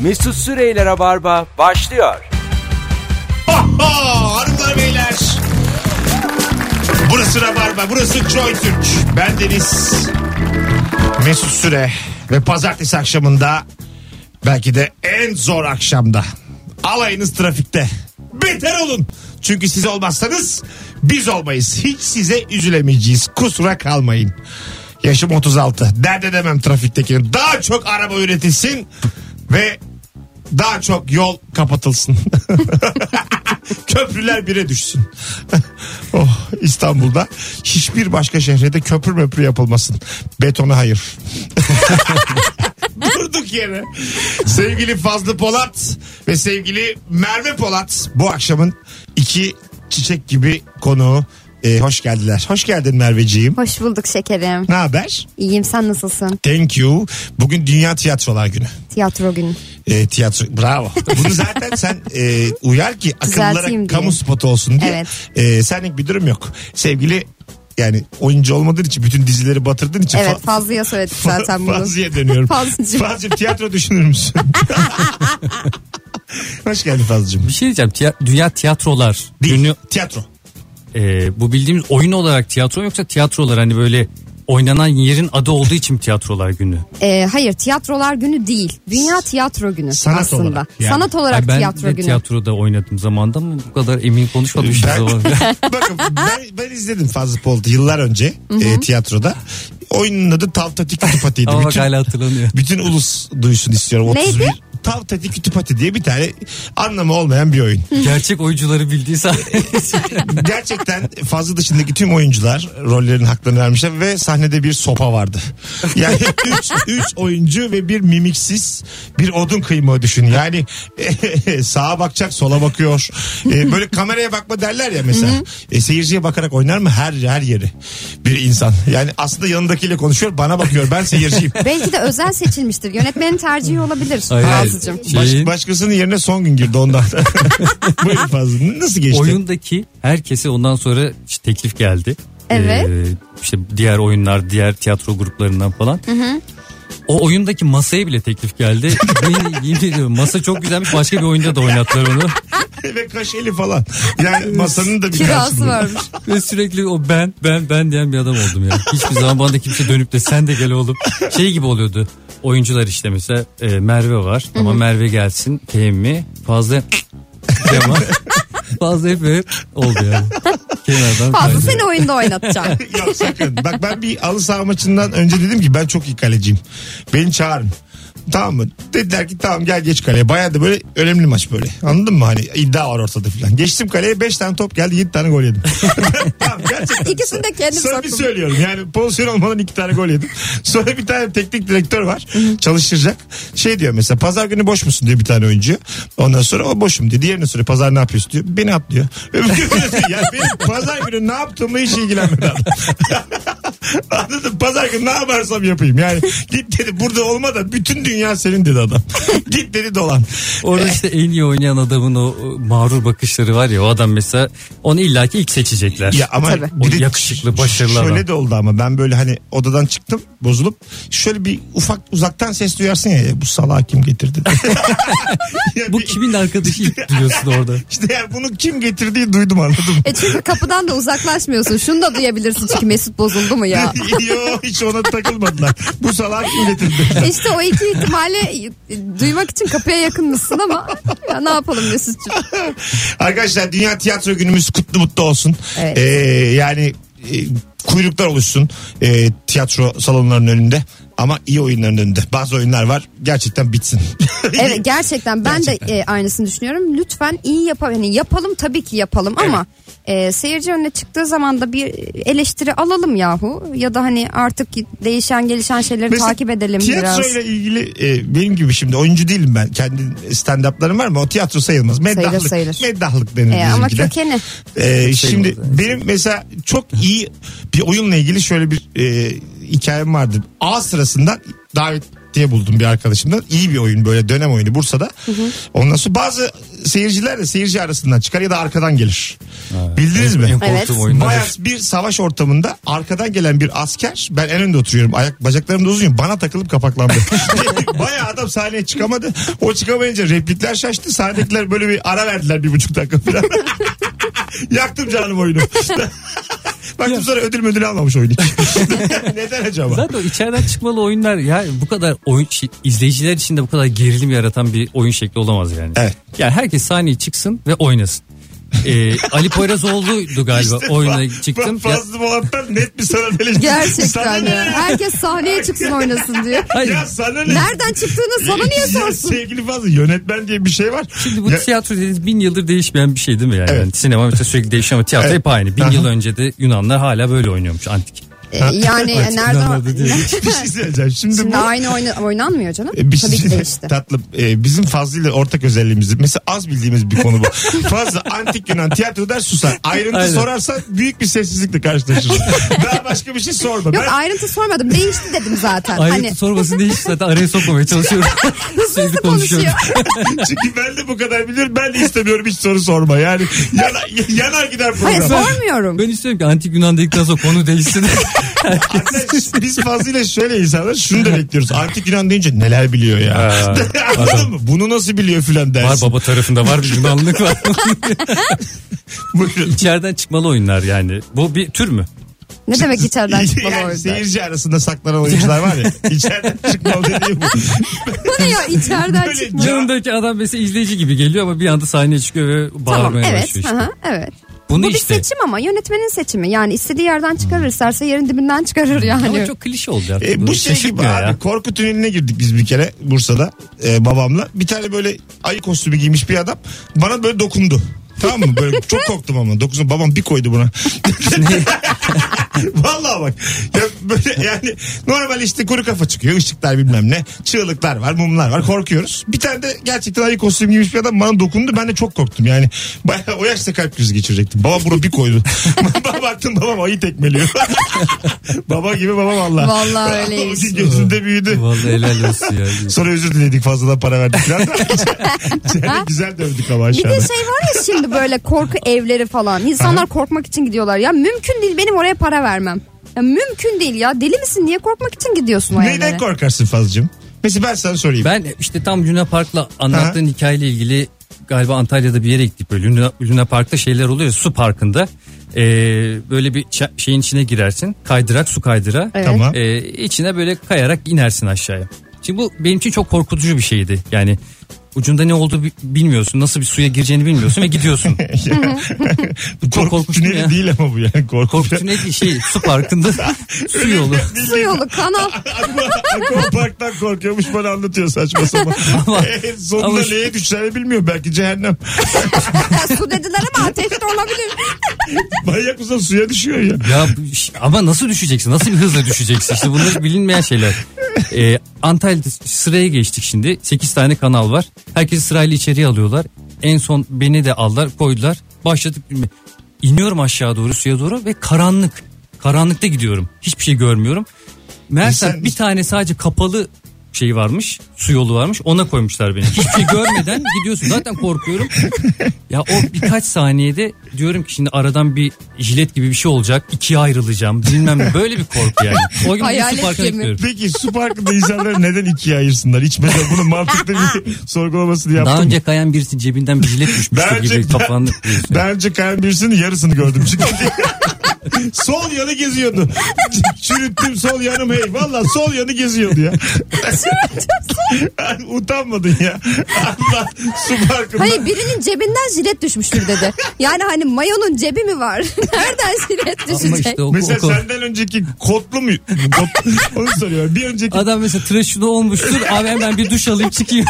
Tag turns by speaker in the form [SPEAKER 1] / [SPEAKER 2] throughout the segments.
[SPEAKER 1] Mesut Süreyle Rabarba başlıyor.
[SPEAKER 2] Oho, hanımlar beyler. Burası Rabarba, burası Joy Türk. Ben Deniz Mesut Süre ve pazartesi akşamında belki de en zor akşamda. Alayınız trafikte. Beter olun. Çünkü siz olmazsanız biz olmayız. Hiç size üzülemeyeceğiz. Kusura kalmayın. Yaşım 36. Dert edemem trafiktekini. Daha çok araba üretilsin ve daha çok yol kapatılsın. Köprüler bire düşsün. oh, İstanbul'da hiçbir başka şehre de köprü möprü yapılmasın. Betona hayır. Durduk yere. Sevgili Fazlı Polat ve sevgili Merve Polat bu akşamın iki çiçek gibi konuğu. Ee, hoş geldiler. Hoş geldin Merveciğim.
[SPEAKER 3] Hoş bulduk şekerim.
[SPEAKER 2] Ne haber?
[SPEAKER 3] İyiyim sen nasılsın?
[SPEAKER 2] Thank you. Bugün Dünya Tiyatrolar Günü.
[SPEAKER 3] Tiyatro günü.
[SPEAKER 2] E, tiyatro bravo. Bunu zaten sen e, uyar ki akıllara
[SPEAKER 3] Düzelteyim diye.
[SPEAKER 2] kamu spotu olsun diye.
[SPEAKER 3] Evet.
[SPEAKER 2] E, senlik bir durum yok. Sevgili yani oyuncu olmadığın için bütün dizileri batırdığın için
[SPEAKER 3] Evet
[SPEAKER 2] fa-
[SPEAKER 3] fazlaya söyledik
[SPEAKER 2] fa-
[SPEAKER 3] zaten bunu.
[SPEAKER 2] Fazlı'ya dönüyorum.
[SPEAKER 3] Fazlıcığım.
[SPEAKER 2] Fazlıcığım tiyatro düşünür müsün? Hoş geldin Fazlıcığım.
[SPEAKER 4] Bir şey diyeceğim. Tiya- Dünya tiyatrolar
[SPEAKER 2] Değil,
[SPEAKER 4] günü
[SPEAKER 2] tiyatro.
[SPEAKER 4] e, bu bildiğimiz oyun olarak tiyatro mu yoksa tiyatrolar hani böyle oynanan yerin adı olduğu için mi tiyatrolar günü.
[SPEAKER 3] Ee, hayır tiyatrolar günü değil. Dünya tiyatro günü
[SPEAKER 2] Sanat
[SPEAKER 3] aslında.
[SPEAKER 2] olarak
[SPEAKER 4] Yani-
[SPEAKER 3] Sanat olarak
[SPEAKER 4] Ay, ben
[SPEAKER 3] tiyatro
[SPEAKER 4] de
[SPEAKER 3] günü.
[SPEAKER 4] tiyatroda oynadığım zamanda mı bu kadar emin konuşmamışız.
[SPEAKER 2] Ben-
[SPEAKER 4] o zaman.
[SPEAKER 2] Bakın ben, ben izledim Fazlı Polat'ı yıllar önce e, tiyatroda. Oyunun adı Tavtati Kütüphane'ydi.
[SPEAKER 4] Ama bak
[SPEAKER 2] Bütün-
[SPEAKER 4] hala hatırlanıyor.
[SPEAKER 2] Bütün ulus duysun istiyorum. 31.
[SPEAKER 3] Neydi?
[SPEAKER 2] Tavtati Kütüphati diye bir tane anlamı olmayan bir oyun.
[SPEAKER 4] Gerçek oyuncuları bildiği sahne.
[SPEAKER 2] Gerçekten fazla dışındaki tüm oyuncular rollerin haklarını vermişler ve sahnede bir sopa vardı. Yani 3 oyuncu ve bir mimiksiz bir odun kıymığı düşün. Yani e, sağa bakacak sola bakıyor. E, böyle kameraya bakma derler ya mesela. E, seyirciye bakarak oynar mı her her yeri bir insan. Yani aslında yanındakiyle konuşuyor bana bakıyor ben seyirciyim.
[SPEAKER 3] Belki de özel seçilmiştir. Yönetmenin tercihi olabilir
[SPEAKER 4] Hayır, hayır.
[SPEAKER 3] Fazlıcığım.
[SPEAKER 2] Baş-
[SPEAKER 4] Şeyin-
[SPEAKER 2] başkasının yerine son gün girdi ondan. Buyurun fazla. Nasıl geçti?
[SPEAKER 4] Oyundaki herkese ondan sonra işte teklif geldi.
[SPEAKER 3] Evet.
[SPEAKER 4] Ee, işte diğer oyunlar, diğer tiyatro gruplarından falan. O oyundaki masaya bile teklif geldi. Yemin- Yemin ediyorum masa çok güzelmiş. Başka bir oyunda da oynattılar onu.
[SPEAKER 2] Ve kaşeli falan. Yani masanın da bir
[SPEAKER 3] Kirası
[SPEAKER 2] karşılığı.
[SPEAKER 3] varmış.
[SPEAKER 4] Ve sürekli o ben ben ben diyen bir adam oldum ya. Hiçbir zaman bana da kimse dönüp de sen de gel oğlum. Şey gibi oluyordu. Oyuncular işte mesela e, Merve var ama Merve gelsin Fehmi fazla Kemal fazla hep böyle oldu yani. Kenardan
[SPEAKER 3] Fazla
[SPEAKER 4] kaydı.
[SPEAKER 3] seni oyunda oynatacağım.
[SPEAKER 2] Yok sakın. Bak ben bir alı saha maçından önce dedim ki ben çok iyi kaleciyim. Beni çağırın. Tamam mı? Dediler ki tamam gel geç kaleye. Bayağı da böyle önemli maç böyle. Anladın mı? Hani iddia var ortada falan. Geçtim kaleye 5 tane top geldi 7 tane gol yedim. tamam gerçekten.
[SPEAKER 3] İkisini de kendim
[SPEAKER 2] Sana bir şey-
[SPEAKER 3] soktum.
[SPEAKER 2] söylüyorum yani pozisyon olmadan iki tane gol yedim. Sonra bir tane teknik direktör var çalıştıracak. Şey diyor mesela pazar günü boş musun diyor bir tane oyuncu. Ondan sonra o boşum diyor. Diğerine soruyor pazar ne yapıyorsun diyor. Beni atlıyor. Öbürü diyor, yani benim pazar günü ne yaptığımı hiç ilgilenmedi adam. Anladın mı? Pazar günü ne yaparsam yapayım. Yani git dedi burada olma da bütün dünya senin dedi adam. git dedi dolan.
[SPEAKER 4] Orada işte en iyi oynayan adamın o o mağrur bakışları var ya o adam mesela onu illaki ilk seçecekler.
[SPEAKER 2] Ya ama
[SPEAKER 3] Tabii.
[SPEAKER 2] bir
[SPEAKER 4] O
[SPEAKER 2] de
[SPEAKER 4] yakışıklı, başarılı
[SPEAKER 2] şöyle
[SPEAKER 4] adam.
[SPEAKER 2] de oldu ama ben böyle hani odadan çıktım bozulup şöyle bir ufak uzaktan ses duyarsın ya bu salağı kim getirdi? Ya
[SPEAKER 4] Bu
[SPEAKER 2] bir-
[SPEAKER 4] kimin arkadaşı ilk diyorsun orada.
[SPEAKER 2] İşte yani bunu kim getirdiği duydum anladım.
[SPEAKER 3] E çünkü kapıdan da uzaklaşmıyorsun. Şunu da duyabilirsin çünkü Mesut bozuldu mu ya?
[SPEAKER 2] Yo hiç ona takılmadılar. Bu salağı kim getirdi?
[SPEAKER 3] İşte o iki ihtimali e, duymak için kapıya yakın mısın ama ya ne yapalım Mesut'cum.
[SPEAKER 2] Arkadaşlar Dünya Tiyatro Günümüz kutlu mutlu olsun.
[SPEAKER 3] Evet.
[SPEAKER 2] Ee, yani e, kuyruklar oluşsun e, tiyatro salonlarının önünde. Ama iyi oyunların önünde. Bazı oyunlar var gerçekten bitsin.
[SPEAKER 3] Evet gerçekten ben
[SPEAKER 2] Gerçekten.
[SPEAKER 3] de e, aynısını düşünüyorum. Lütfen iyi yapalım. Yani yapalım tabii ki yapalım ama e, seyirci önüne çıktığı zaman da bir eleştiri alalım yahu. Ya da hani artık değişen gelişen şeyleri
[SPEAKER 2] Mesela
[SPEAKER 3] takip edelim
[SPEAKER 2] tiyatroyla
[SPEAKER 3] biraz.
[SPEAKER 2] ilgili e, benim gibi şimdi oyuncu değilim ben. Kendi stand-up'larım var mı? O tiyatro sayılmaz. Meddahlık,
[SPEAKER 3] sayılır.
[SPEAKER 2] meddahlık denir
[SPEAKER 3] E, ama
[SPEAKER 2] bizimkine.
[SPEAKER 3] kökeni
[SPEAKER 2] Ee, şimdi
[SPEAKER 4] olmaz yani.
[SPEAKER 2] benim mesela çok iyi bir oyunla ilgili şöyle bir e, hikayem vardı. A sırasından davet diye buldum bir arkadaşımdan. İyi bir oyun böyle dönem oyunu Bursa'da. Ondan sonra bazı seyirciler de seyirci arasından çıkar ya da arkadan gelir. Bildiniz mi?
[SPEAKER 4] En korktuğum
[SPEAKER 3] Evet.
[SPEAKER 4] oyunlar.
[SPEAKER 2] Baya bir savaş ortamında arkadan gelen bir asker ben en önde oturuyorum ayak bacaklarım da uzun bana takılıp kapaklandı. Baya adam sahneye çıkamadı. O çıkamayınca replikler şaştı. Sahnedekiler böyle bir ara verdiler bir buçuk dakika falan. Yaktım canım oyunu. Baktım sonra ödül müdül almamış oyun. Neden acaba?
[SPEAKER 4] Zaten o içeriden çıkmalı oyunlar ya bu kadar oyun şey- izleyiciler için de bu kadar gerilim yaratan bir oyun şekli olamaz yani.
[SPEAKER 2] Evet.
[SPEAKER 4] Yani herkes sahneye çıksın ve oynasın. Ee, Ali Poyrazoğlu'ydu galiba
[SPEAKER 2] İşte
[SPEAKER 4] oyuna
[SPEAKER 2] Fa-
[SPEAKER 4] çıktım.
[SPEAKER 2] Fa- Fazlı Polat'tan net bir sana deli.
[SPEAKER 3] Gerçekten
[SPEAKER 2] Sana ne?
[SPEAKER 3] ya. Herkes sahneye çıksın oynasın diyor.
[SPEAKER 4] Hayır.
[SPEAKER 2] Ya sana ne?
[SPEAKER 3] Nereden çıktığını sana niye
[SPEAKER 2] Ya
[SPEAKER 3] sorsun?
[SPEAKER 2] Sevgili Fazlı yönetmen diye bir şey var.
[SPEAKER 4] Şimdi bu
[SPEAKER 2] Ya-
[SPEAKER 4] tiyatro dediğiniz bin yıldır değişmeyen bir şey değil mi yani?
[SPEAKER 2] Evet.
[SPEAKER 4] Yani sinema mesela sürekli değişiyor ama tiyatro
[SPEAKER 2] Evet.
[SPEAKER 4] hep aynı. Bin
[SPEAKER 2] Aha.
[SPEAKER 4] yıl önce de Yunanlar hala böyle oynuyormuş antik.
[SPEAKER 3] Ee, yani nereden?
[SPEAKER 4] inanmadı diye.
[SPEAKER 2] bir şey söyleyeceğim. Şimdi,
[SPEAKER 3] Şimdi
[SPEAKER 2] bu...
[SPEAKER 3] aynı oyna- oynanmıyor canım.
[SPEAKER 2] E, bir şey
[SPEAKER 3] Tabii ki
[SPEAKER 2] söyleyeyim.
[SPEAKER 3] değişti.
[SPEAKER 2] Tatlım e, bizim Fazlı ile ortak özelliğimiz mesela az bildiğimiz bir konu bu. Fazlı antik Yunan tiyatro der susar. Ayrıntı
[SPEAKER 4] Aynen.
[SPEAKER 2] sorarsan büyük bir sessizlikle karşılaşırsın. Daha başka bir şey sorma.
[SPEAKER 3] Yok
[SPEAKER 2] Ben-
[SPEAKER 3] ayrıntı sormadım. Değişti dedim zaten.
[SPEAKER 4] Ayrıntı
[SPEAKER 3] hani
[SPEAKER 4] sormasın diye hiç zaten araya sokmamaya çalışıyorum.
[SPEAKER 3] hızlı hızlı
[SPEAKER 4] Sürekli konuşuyoruz.
[SPEAKER 3] konuşuyor.
[SPEAKER 2] çünkü ben de bu kadar biliyorum. Ben de istemiyorum hiç soru sorma. Yani yana, yanar gider
[SPEAKER 3] Hayır
[SPEAKER 2] program.
[SPEAKER 3] sormuyorum.
[SPEAKER 4] Ben istiyorum ki antik Yunan dedikten sonra konu değişsin.
[SPEAKER 2] Arkadaş, biz Fazlı ile şöyle insanlar şunu da bekliyoruz. Antik Yunan deyince neler biliyor ya. Anladın mı? Bunu nasıl biliyor filan
[SPEAKER 4] var
[SPEAKER 2] dersin.
[SPEAKER 4] baba tarafında var bir Yunanlık var.
[SPEAKER 2] Buyurun.
[SPEAKER 4] İçeriden çıkmalı oyunlar yani. Bu bir tür mü?
[SPEAKER 3] Ne demek içeriden çıkmalı
[SPEAKER 2] Yani
[SPEAKER 3] orada?
[SPEAKER 2] seyirci arasında saklanan oyuncular var ya. İçeriden çıkmalı dediği bu.
[SPEAKER 3] Bu ne ya içeriden
[SPEAKER 2] Böyle
[SPEAKER 3] çıkmalı?
[SPEAKER 4] Yanındaki adam mesela izleyici gibi geliyor ama bir anda sahneye çıkıyor ve bağırmaya
[SPEAKER 3] Tamam evet.
[SPEAKER 4] başlıyor işte.
[SPEAKER 3] aha, evet.
[SPEAKER 4] Bunu
[SPEAKER 3] Bu
[SPEAKER 4] işte.
[SPEAKER 3] bir seçim ama yönetmenin seçimi. Yani istediği yerden çıkarır isterse yerin dibinden çıkarır
[SPEAKER 4] Ama
[SPEAKER 3] yani.
[SPEAKER 4] çok klişe oldu artık.
[SPEAKER 2] E, bu
[SPEAKER 4] Bu
[SPEAKER 2] şey gibi
[SPEAKER 4] şaşırtmıyor
[SPEAKER 2] abi
[SPEAKER 4] ya.
[SPEAKER 2] korku tüneline girdik biz bir kere Bursa'da e, babamla. Bir tane böyle ayı kostümü giymiş bir adam bana böyle dokundu. Tamam mı? Böyle çok korktum ama. Dokuzu babam bir koydu buna. Vallahi bak. Ya böyle yani normal işte kuru kafa çıkıyor. ışıklar bilmem ne. Çığlıklar var, mumlar var. Korkuyoruz. Bir tane de gerçekten ayı kostümü giymiş bir adam bana dokundu. Ben de çok korktum yani. Bayağı o yaşta kalp krizi geçirecektim. Baba buna bir koydu. Baba baktım babam ayı tekmeliyor. baba gibi baba vallahi.
[SPEAKER 3] Vallahi öyleyiz.
[SPEAKER 2] O gün gözünde büyüdü.
[SPEAKER 4] Vallahi helal olsun ya.
[SPEAKER 2] Sonra özür diledik fazladan para verdik. falan. Yani güzel dövdük ama
[SPEAKER 3] Bir de
[SPEAKER 2] aşağıda.
[SPEAKER 3] şey var ya şimdi böyle korku evleri falan. İnsanlar korkmak için gidiyorlar. Ya mümkün değil benim oraya para vermem. Ya mümkün değil ya. Deli misin? Niye korkmak için gidiyorsun o
[SPEAKER 2] Neyden
[SPEAKER 3] evlere?
[SPEAKER 2] korkarsın Fazlıcığım? Mesela ben sana sorayım.
[SPEAKER 4] Ben işte tam Luna Park'la anlattığın hikayeyle ilgili galiba Antalya'da bir yere gittik böyle Luna, Luna Park'ta şeyler oluyor ya, su parkında Ee, böyle bir ça- şeyin içine girersin kaydırak su kaydıra
[SPEAKER 3] Evet.
[SPEAKER 2] Tamam.
[SPEAKER 4] Ee, içine böyle kayarak inersin aşağıya. Şimdi bu benim için çok korkutucu bir şeydi yani ucunda ne olduğu bi- bilmiyorsun nasıl bir suya gireceğini bilmiyorsun ve gidiyorsun.
[SPEAKER 2] Korku
[SPEAKER 4] korkunç
[SPEAKER 2] tüneli
[SPEAKER 4] ya.
[SPEAKER 2] değil ama bu yani. Korku,
[SPEAKER 4] Korkutucu ne şey su parkında su yolu
[SPEAKER 3] Su yolu kanal.
[SPEAKER 2] Akvaparktan korkuyormuş bana anlatıyor saçma sapan.
[SPEAKER 4] Ama-
[SPEAKER 2] En sonunda
[SPEAKER 4] ama-
[SPEAKER 2] neye düşeceğini bilmiyor. Belki cehennem.
[SPEAKER 3] Ya su dediler ama ateş de olabilir.
[SPEAKER 2] Manyak mısın suya düşüyor ya.
[SPEAKER 4] Ya bu ş- ama nasıl düşeceksin? Nasıl bir hızla düşeceksin? İşte bunlar bilinmeyen şeyler. Ee, Antalya'da sıraya geçtik şimdi. 8 tane kanal var. Herkesi sırayla içeriye alıyorlar. En son beni de aldılar koydular. Başladık. İniyorum aşağı doğru suya doğru ve karanlık. Karanlıkta gidiyorum. Hiçbir şey görmüyorum. Meğerse
[SPEAKER 2] İnsan-
[SPEAKER 4] bir tane sadece kapalı şey varmış. Su yolu varmış. Ona koymuşlar beni. Hiçbir şey görmeden gidiyorsun. Zaten korkuyorum. Ya o birkaç saniyede diyorum ki şimdi aradan bir jilet gibi bir şey olacak. ikiye ayrılacağım. Bilmem ne. Böyle bir korku yani. O gün bir
[SPEAKER 3] Hayalet
[SPEAKER 4] su parkına
[SPEAKER 3] gemi.
[SPEAKER 4] gidiyorum.
[SPEAKER 2] Peki su parkında insanları neden ikiye ayırsınlar? Hiç mesela bunun mantıklı bir sorgulamasını yaptım.
[SPEAKER 4] Daha önce kayan birisi cebinden bir jilet düşmüştü
[SPEAKER 2] Bence-
[SPEAKER 4] gibi kapandı. diyorsun.
[SPEAKER 2] Daha önce kayan birisinin yarısını gördüm çünkü. sol yanı geziyordu. Ç- Çürüttüm sol yanım hey. Valla sol yanı geziyordu ya. Utanmadın ya. Allah su parkında.
[SPEAKER 3] Hayır birinin cebinden jilet düşmüştür dedi. Yani hani mayonun cebi mi var? Nereden jilet
[SPEAKER 4] Ama
[SPEAKER 3] düşecek?
[SPEAKER 4] işte o,
[SPEAKER 2] Mesela
[SPEAKER 4] o korku.
[SPEAKER 2] senden önceki kotlu mu? Kot, onu soruyor. Bir önceki
[SPEAKER 4] Adam mesela tıraşını olmuştur. Abi hemen bir duş alayım çıkayım.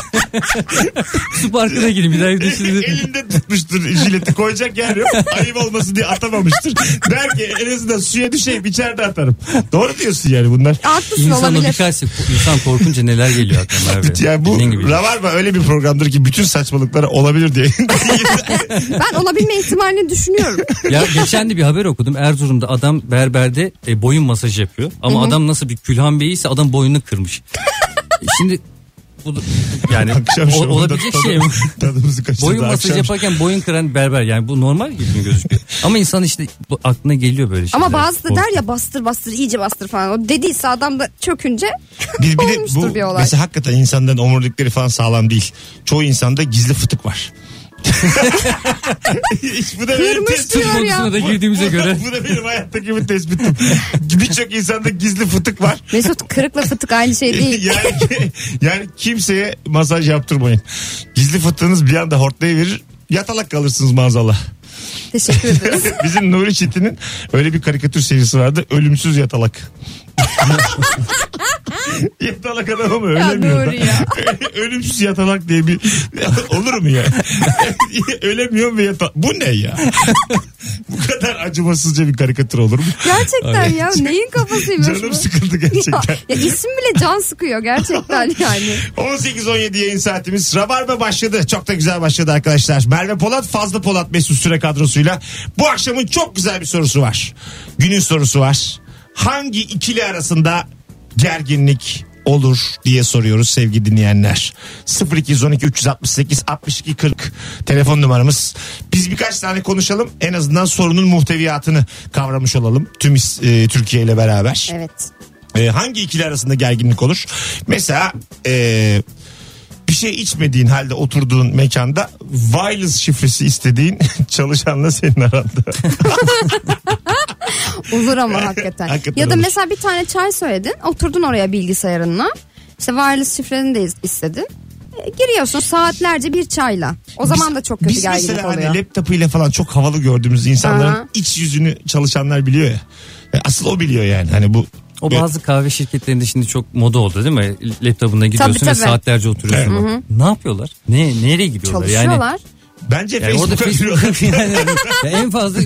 [SPEAKER 4] su parkına gireyim. Bir daha evde şimdi.
[SPEAKER 2] elinde tutmuştur jileti koyacak yer yok. Ayıp olması diye atamamıştır. Der ki en azından suya düşeyim içeride atarım. Doğru diyorsun yani bunlar.
[SPEAKER 3] Haklısın
[SPEAKER 4] İnsanla
[SPEAKER 3] olabilir.
[SPEAKER 4] birkaç insan korkunca neler geliyor aklına abi.
[SPEAKER 2] Yani bu
[SPEAKER 4] Dediğin gibi.
[SPEAKER 2] Rabarba öyle bir programdır ki bütün saçmalıklara olabilir diye.
[SPEAKER 3] Ben olabilme ihtimalini düşünüyorum.
[SPEAKER 4] Ya geçen de bir haber okudum. Erzurum'da adam berberde e, boyun masajı yapıyor. Ama adam nasıl bir Külhan Bey ise adam boynunu kırmış. Şimdi bu yani
[SPEAKER 2] Akşam
[SPEAKER 4] Hani o-
[SPEAKER 2] şovunda
[SPEAKER 4] olabilecek şey mi?
[SPEAKER 2] tadı- Tadımızı kaçırdı.
[SPEAKER 4] Boyun
[SPEAKER 2] akşam
[SPEAKER 4] masajı yaparken boyun kıran berber yani bu normal gibi mi gözüküyor? Ama insan işte bu aklına geliyor böyle şeyler.
[SPEAKER 3] Ama bazı da
[SPEAKER 4] Bu-
[SPEAKER 3] der ya bastır bastır iyice bastır falan. O dediyse adam da çökünce
[SPEAKER 2] Bir, bir de
[SPEAKER 3] olmuştur
[SPEAKER 2] bu
[SPEAKER 3] bir olay.
[SPEAKER 2] mesela hakikaten insanların omurilikleri falan sağlam değil. Çoğu insanda gizli fıtık var. Hiç bu da benim
[SPEAKER 3] Kırmış
[SPEAKER 2] tespitim.
[SPEAKER 3] diyor ya.
[SPEAKER 4] konusuna da
[SPEAKER 2] Bu-
[SPEAKER 4] girdiğimize
[SPEAKER 2] bu-
[SPEAKER 4] göre.
[SPEAKER 2] Bu da benim hayattaki bir tespitim. Birçok insanda gizli fıtık var.
[SPEAKER 3] Mesut kırıkla fıtık aynı şey değil.
[SPEAKER 2] yani, yani kimseye masaj yaptırmayın. Gizli fıtığınız bir anda hortlayıverir. Yatalak kalırsınız maazallah.
[SPEAKER 3] Teşekkür ederiz.
[SPEAKER 2] Bizim Nuri Çetin'in öyle bir karikatür serisi vardı. Ölümsüz yatalak. yatalak adamı mı?
[SPEAKER 3] Ya
[SPEAKER 2] Ölemiyor da.
[SPEAKER 3] Nuri ya.
[SPEAKER 2] Ölümsüz yatalak diye bir olur mu ya? Ölemiyorum ve yatalak. Bu ne ya? Bu kadar acımasızca bir karikatür olur mu?
[SPEAKER 3] Gerçekten ya neyin kafasıymış
[SPEAKER 2] Canım
[SPEAKER 3] bu?
[SPEAKER 2] sıkıldı
[SPEAKER 3] Ya,
[SPEAKER 2] gerçekten.
[SPEAKER 3] ya isim bile can sıkıyor gerçekten yani.
[SPEAKER 2] 18-17 yayın saatimiz. Rabarba başladı. Çok da güzel başladı arkadaşlar. Merve Polat, Fazlı Polat Mesut Süre kadrosuyla. Bu akşamın çok güzel bir sorusu var. Günün sorusu var. Hangi ikili arasında gerginlik olur diye soruyoruz sevgili dinleyenler. 0212 368 62 40 telefon numaramız. Biz birkaç tane konuşalım. En azından sorunun muhteviyatını kavramış olalım. Tüm is- e, Türkiye ile beraber.
[SPEAKER 3] Evet.
[SPEAKER 2] E, hangi ikili arasında gerginlik olur? Mesela e, bir şey içmediğin halde oturduğun mekanda wireless şifresi istediğin çalışanla senin aranda.
[SPEAKER 3] Olur ama hakikaten.
[SPEAKER 2] Hakikaten
[SPEAKER 3] ya da
[SPEAKER 2] olur.
[SPEAKER 3] mesela bir tane çay söyledin. Oturdun oraya bilgisayarına. İşte wireless şifreni de is- istedin. E, Giriyorsun saatlerce bir çayla. O zaman da çok kötü
[SPEAKER 2] Biz
[SPEAKER 3] gerginlik
[SPEAKER 2] mesela
[SPEAKER 3] oluyor.
[SPEAKER 2] hani laptopuyla falan çok havalı gördüğümüz insanların
[SPEAKER 3] Aha.
[SPEAKER 2] iç yüzünü çalışanlar biliyor ya. E, Asıl o biliyor yani. Hani bu
[SPEAKER 4] O bazı kahve şirketlerinde şimdi çok moda oldu değil mi? Laptopuna gidiyorsun
[SPEAKER 3] Tabii,
[SPEAKER 4] ve
[SPEAKER 3] tabii.
[SPEAKER 4] saatlerce oturuyorsun. Ne yapıyorlar? Ne nereye gidiyorlar? Yani,
[SPEAKER 3] Çalışıyorlar.
[SPEAKER 2] bence
[SPEAKER 4] yani orada
[SPEAKER 2] Facebook'a giriyorlar.
[SPEAKER 4] Facebook yani, ya en fazla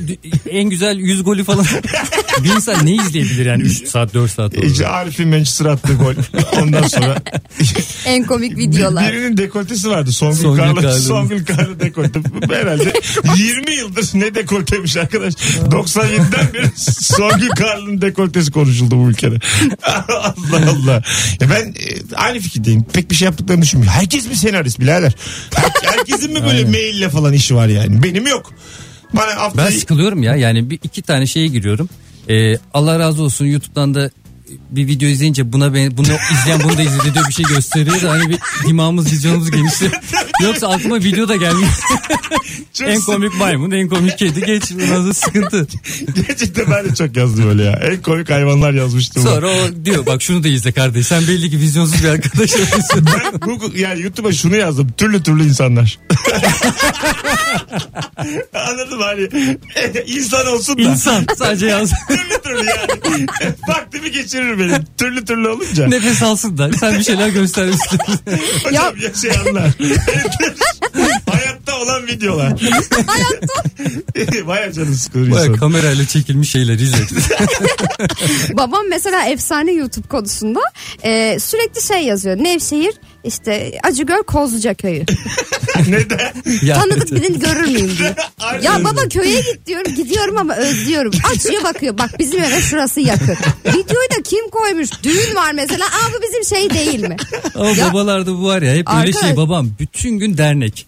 [SPEAKER 4] en güzel 100 golü falan bir insan ne izleyebilir yani 3 saat 4 saat olur.
[SPEAKER 2] İşte E, Arif'in Manchester attığı gol. Ondan sonra
[SPEAKER 3] En komik videolar.
[SPEAKER 2] Bir- Birinin dekoltesi vardı. Songül,
[SPEAKER 4] Songül
[SPEAKER 2] Karlı,
[SPEAKER 4] Karlı.
[SPEAKER 2] Songül Karlı dekolte. Herhalde 20 yıldır ne dekoltemiş arkadaş. 97'den beri Songül Karlı'nın dekoltesi konuşuldu bu ülkede. Allah Allah. Ya ben e, aynı fikirdeyim. Pek bir şey yaptıklarını düşünmüyorum. Herkes mi senarist birader? Her- herkesin mi böyle maille falan işi var yani? Benim yok. Bana
[SPEAKER 4] Ben
[SPEAKER 2] haftayı...
[SPEAKER 4] sıkılıyorum ya yani bir iki tane şeye giriyorum. Ee, Allah razı olsun YouTube'dan da bir video izleyince buna ben bunu izleyen bunu da izledi diyor bir şey gösteriyor da hani bir dimağımız vizyonumuz genişti. Yoksa aklıma video da gelmiyor.
[SPEAKER 2] çok
[SPEAKER 4] en
[SPEAKER 2] sık-
[SPEAKER 4] komik maymun, en komik kedi geç bundan da sıkıntı.
[SPEAKER 2] Gerçekten ben de çok yazdım öyle ya. En komik hayvanlar yazmıştım. ben.
[SPEAKER 4] Sonra o diyor bak şunu da izle kardeş. Sen belli ki vizyonsuz bir arkadaş olmuşsun.
[SPEAKER 2] Ben Google, yani YouTube'a şunu yazdım. Türlü türlü insanlar. Anladım hani. İnsan olsun da.
[SPEAKER 4] İnsan sadece yaz.
[SPEAKER 2] Türlü türlü yani. Vaktimi geçirir benim. Türlü türlü olunca.
[SPEAKER 4] Nefes alsın da sen bir şeyler göstermişsin.
[SPEAKER 2] Hocam yaşayanlar. Hayatta olan videolar. Hayatta. Baya canı sıkılır
[SPEAKER 4] Baya
[SPEAKER 2] insan.
[SPEAKER 4] kamerayla çekilmiş şeyler izle.
[SPEAKER 3] Babam mesela efsane YouTube konusunda e, sürekli şey yazıyor. Nevşehir işte Acıgöl Kozluca köyü.
[SPEAKER 2] Neden?
[SPEAKER 4] Ya,
[SPEAKER 3] Tanıdık birini görür müyüm diyor.
[SPEAKER 2] Aynen
[SPEAKER 3] Ya
[SPEAKER 2] öyle.
[SPEAKER 3] baba köye git diyorum gidiyorum ama özlüyorum. Açıyor bakıyor bak bizim eve şurası yakın. Videoyu da kim koymuş? Düğün var mesela. Aa bu bizim şey değil mi?
[SPEAKER 4] Ama babalarda bu var ya hep öyle
[SPEAKER 3] Arkadaş-
[SPEAKER 4] şey babam bütün gün dernek.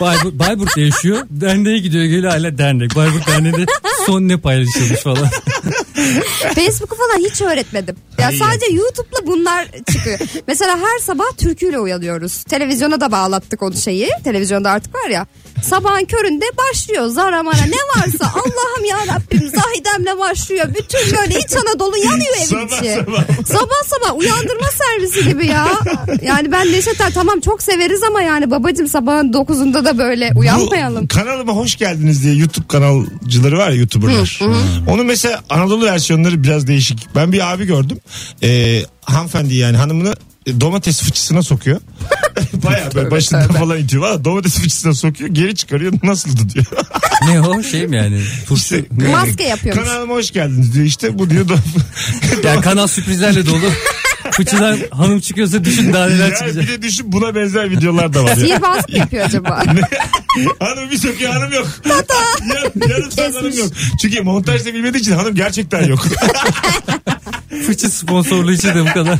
[SPEAKER 4] Baybur, Bayburt'ta yaşıyor. Derneğe gidiyor geliyor hala dernek. Bayburt derneğinde son ne paylaşılmış falan.
[SPEAKER 3] Facebook'u falan hiç öğretmedim. Ya
[SPEAKER 2] Hayır.
[SPEAKER 3] sadece YouTube'la bunlar çıkıyor. Mesela her sabah türküyle uyanıyoruz. Televizyona da bağlattık onu şeyi. Televizyonda artık var ya. Sabahın köründe başlıyor zara mara ne varsa Allah'ım ya Rabbim zahidemle başlıyor. Bütün böyle iç Anadolu yanıyor evin
[SPEAKER 2] Sabah
[SPEAKER 3] içi.
[SPEAKER 2] sabah.
[SPEAKER 3] Sabah sabah uyandırma servisi gibi ya. Yani ben Neşet Er- tamam çok severiz ama yani babacım sabahın dokuzunda da böyle uyanmayalım.
[SPEAKER 2] Bu kanalıma hoş geldiniz diye YouTube kanalcıları var ya YouTuber'lar. Onu mesela Anadolu versiyonları biraz değişik. Ben bir abi gördüm. Ee, hanımefendi yani hanımını e, domates fıçısına sokuyor. Bayağı böyle başından falan itiyor. Valla domates fıçısına sokuyor. Geri çıkarıyor. Nasıldı diyor.
[SPEAKER 4] Ne o şey mi yani? Turşu.
[SPEAKER 2] İşte-
[SPEAKER 4] Ne?
[SPEAKER 3] Maske yapıyormuş.
[SPEAKER 2] Kanalıma hoş geldiniz diyor. İşte bu diyor.
[SPEAKER 4] Yani kanal sürprizlerle dolu. Fıçıdan hanım çıkıyorsa düşün daha neler
[SPEAKER 2] ya bir
[SPEAKER 4] çıkacak.
[SPEAKER 2] de düşün buna benzer videolar da var. ya.
[SPEAKER 3] Sihirbazlık mı yapıyor acaba?
[SPEAKER 2] hanım bir sokuyor hanım yok. Yar, yarım saat hanım yok. Çünkü montajda bilmediği için hanım gerçekten yok.
[SPEAKER 4] Fıçı sponsorluğu için de bu kadar.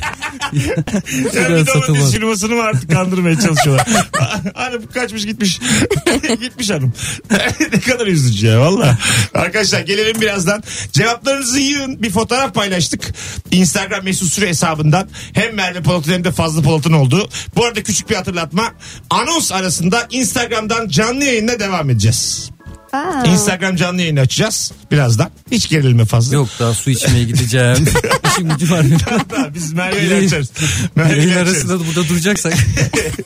[SPEAKER 2] Sen
[SPEAKER 4] Biraz
[SPEAKER 2] bir de onun
[SPEAKER 4] satılmaz.
[SPEAKER 2] dişilmasını mı artık kandırmaya çalışıyorlar. hanım kaçmış gitmiş. gitmiş hanım. ne kadar üzücü ya valla. Arkadaşlar gelelim birazdan. Cevaplarınızı yığın. Bir fotoğraf paylaştık. Instagram mesut süre hesabından. Hem Merve Polat'ın hem de Fazlı Polat'ın olduğu. Bu arada küçük bir hatırlatma. Anons arasında Instagram'dan canlı yayınla devam edeceğiz.
[SPEAKER 3] Aa.
[SPEAKER 2] Instagram canlı yayını açacağız birazdan. Hiç gerilme fazla.
[SPEAKER 4] Yok daha su içmeye gideceğim. İşim gücü var.
[SPEAKER 2] Hatta biz Merve'yle açarız.
[SPEAKER 4] Yayın
[SPEAKER 2] Merve'yle açarız.
[SPEAKER 4] arasında da burada duracaksak.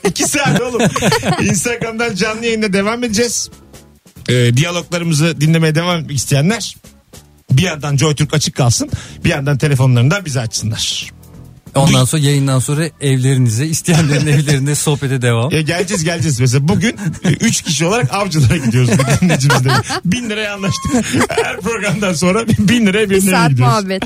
[SPEAKER 2] İki saat oğlum. Instagram'dan canlı yayında devam edeceğiz. Ee, diyaloglarımızı dinlemeye devam etmek isteyenler bir yandan JoyTürk açık kalsın bir yandan telefonlarından bizi açsınlar.
[SPEAKER 4] Ondan sonra yayından sonra evlerinize, isteyenlerin evlerinde sohbete devam.
[SPEAKER 2] Ya geleceğiz geleceğiz mesela bugün e, üç kişi olarak avcılara gidiyoruz bir dinleyicimizle. Bin liraya anlaştık. Her programdan sonra bin liraya
[SPEAKER 3] Bir
[SPEAKER 2] bir nereye
[SPEAKER 3] saat
[SPEAKER 2] gidiyoruz.
[SPEAKER 3] muhabbet.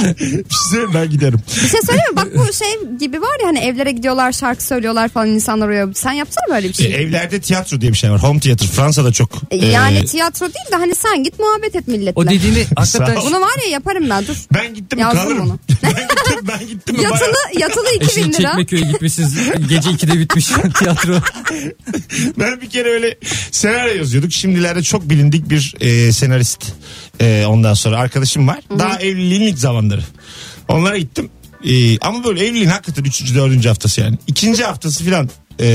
[SPEAKER 2] Bir şey söyleyeyim, ben giderim.
[SPEAKER 3] Bir şey söyleyeyim mi? Bak bu şey gibi var ya hani evlere gidiyorlar şarkı söylüyorlar falan insanlar oraya. Sen yapsana böyle bir
[SPEAKER 2] E,
[SPEAKER 3] şey.
[SPEAKER 2] evlerde tiyatro diye bir şey var. Home tiyatro Fransa'da çok.
[SPEAKER 3] E, yani tiyatro değil de hani sen git muhabbet et milletle.
[SPEAKER 4] O dediğini hakikaten
[SPEAKER 2] Sağ ol.
[SPEAKER 3] Bunu var ya yaparım ben dur.
[SPEAKER 2] Ben gittim mi
[SPEAKER 3] Yazdım
[SPEAKER 2] kalırım.
[SPEAKER 3] onu.
[SPEAKER 2] ben gittim, ben gittim mi bayağı-
[SPEAKER 3] Yatılı, yatılı
[SPEAKER 4] E
[SPEAKER 3] 2000
[SPEAKER 4] şimdi
[SPEAKER 3] lira.
[SPEAKER 4] Çekmeköy'e gitmişsiniz. Gece 2'de bitmiş tiyatro.
[SPEAKER 2] Ben bir kere öyle senaryo yazıyorduk. Şimdilerde çok bilindik bir e, senarist. E, ondan sonra arkadaşım var. Daha evliliğin ilk zamanları. Onlara gittim. E, ama böyle evliliğin hakikaten 3. 4. haftası yani. 2. haftası filan e,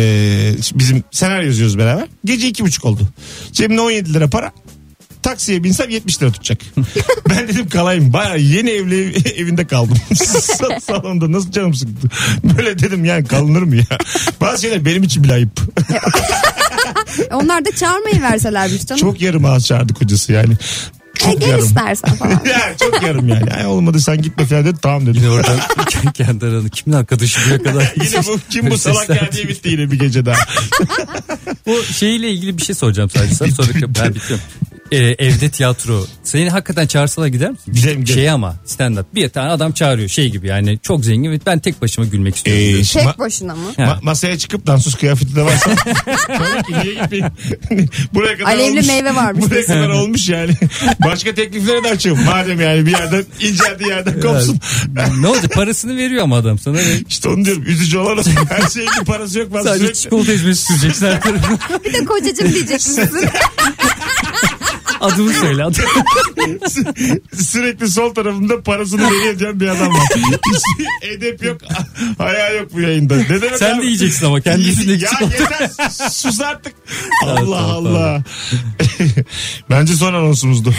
[SPEAKER 2] bizim senaryo yazıyoruz beraber. Gece iki buçuk oldu. Cebimde 17 lira para. Taksiye binsem 70 lira tutacak. ben dedim kalayım. Baya yeni evli evinde kaldım. Sa- Salonda nasıl canım sıktı. Böyle dedim yani kalınır mı ya? Bazı şeyler benim için bile ayıp.
[SPEAKER 3] Onlar da çağırmayı verselermiş canım.
[SPEAKER 2] Çok yarım ağız çağırdı kocası yani.
[SPEAKER 3] E,
[SPEAKER 2] Çok
[SPEAKER 3] gel
[SPEAKER 2] yarım.
[SPEAKER 3] istersen falan.
[SPEAKER 2] Ya, çok yarım yani. Ay, olmadı sen gitme falan dedi. Tamam
[SPEAKER 4] Yine
[SPEAKER 2] dedi.
[SPEAKER 4] oradan kendi aranı kimin arkadaşı buraya kadar.
[SPEAKER 2] Yine bu kim bu salak
[SPEAKER 4] Sesler-
[SPEAKER 2] ya diye bitti yine bir gece daha.
[SPEAKER 4] Bu şeyle ilgili bir şey soracağım sadece sana. Sonra ben bitiyorum. Ee, evde tiyatro. Seni hakikaten çağırsalar gider misin?
[SPEAKER 2] Giderim, giderim.
[SPEAKER 4] Şey ama stand up. Bir tane adam çağırıyor şey gibi yani. Çok zengin ve ben tek başıma gülmek istiyorum.
[SPEAKER 2] Ee,
[SPEAKER 4] diyor.
[SPEAKER 2] ş-
[SPEAKER 3] Tek
[SPEAKER 2] Ma-
[SPEAKER 3] boşuna mı?
[SPEAKER 2] ma- masaya çıkıp dansöz kıyafeti de varsa tabii ki niye gitmeyeyim? Buraya kadar
[SPEAKER 3] Alevli
[SPEAKER 2] olmuş.
[SPEAKER 3] meyve varmış
[SPEAKER 2] Buraya
[SPEAKER 3] desin.
[SPEAKER 2] kadar olmuş yani. Başka tekliflere de açığım. Madem yani bir yerden inceldiği yerden kopsun.
[SPEAKER 4] ne olacak parasını veriyor ama adam sana. ve
[SPEAKER 2] işte onu diyorum. Üzücü olan o. Her şeyin bir parası yok. Ben
[SPEAKER 4] Sadece
[SPEAKER 2] sürekli-
[SPEAKER 4] çikolata ezmesi süreceksin her tarafa.
[SPEAKER 3] Bir de kocacım diyecek misin?
[SPEAKER 4] Adımı söyle adımı.
[SPEAKER 2] Sü- sürekli sol tarafımda parasını vereceğim bir adam var. Hiç edep yok, hayal yok bu yayında. Ne demek
[SPEAKER 4] Sen
[SPEAKER 2] abi?
[SPEAKER 4] de yiyeceksin ama kendisi de
[SPEAKER 2] Ya
[SPEAKER 4] çikolata.
[SPEAKER 2] yeter sus artık.
[SPEAKER 4] Evet,
[SPEAKER 2] Allah
[SPEAKER 4] tamam,
[SPEAKER 2] Allah. Bence son anonsumuzdu.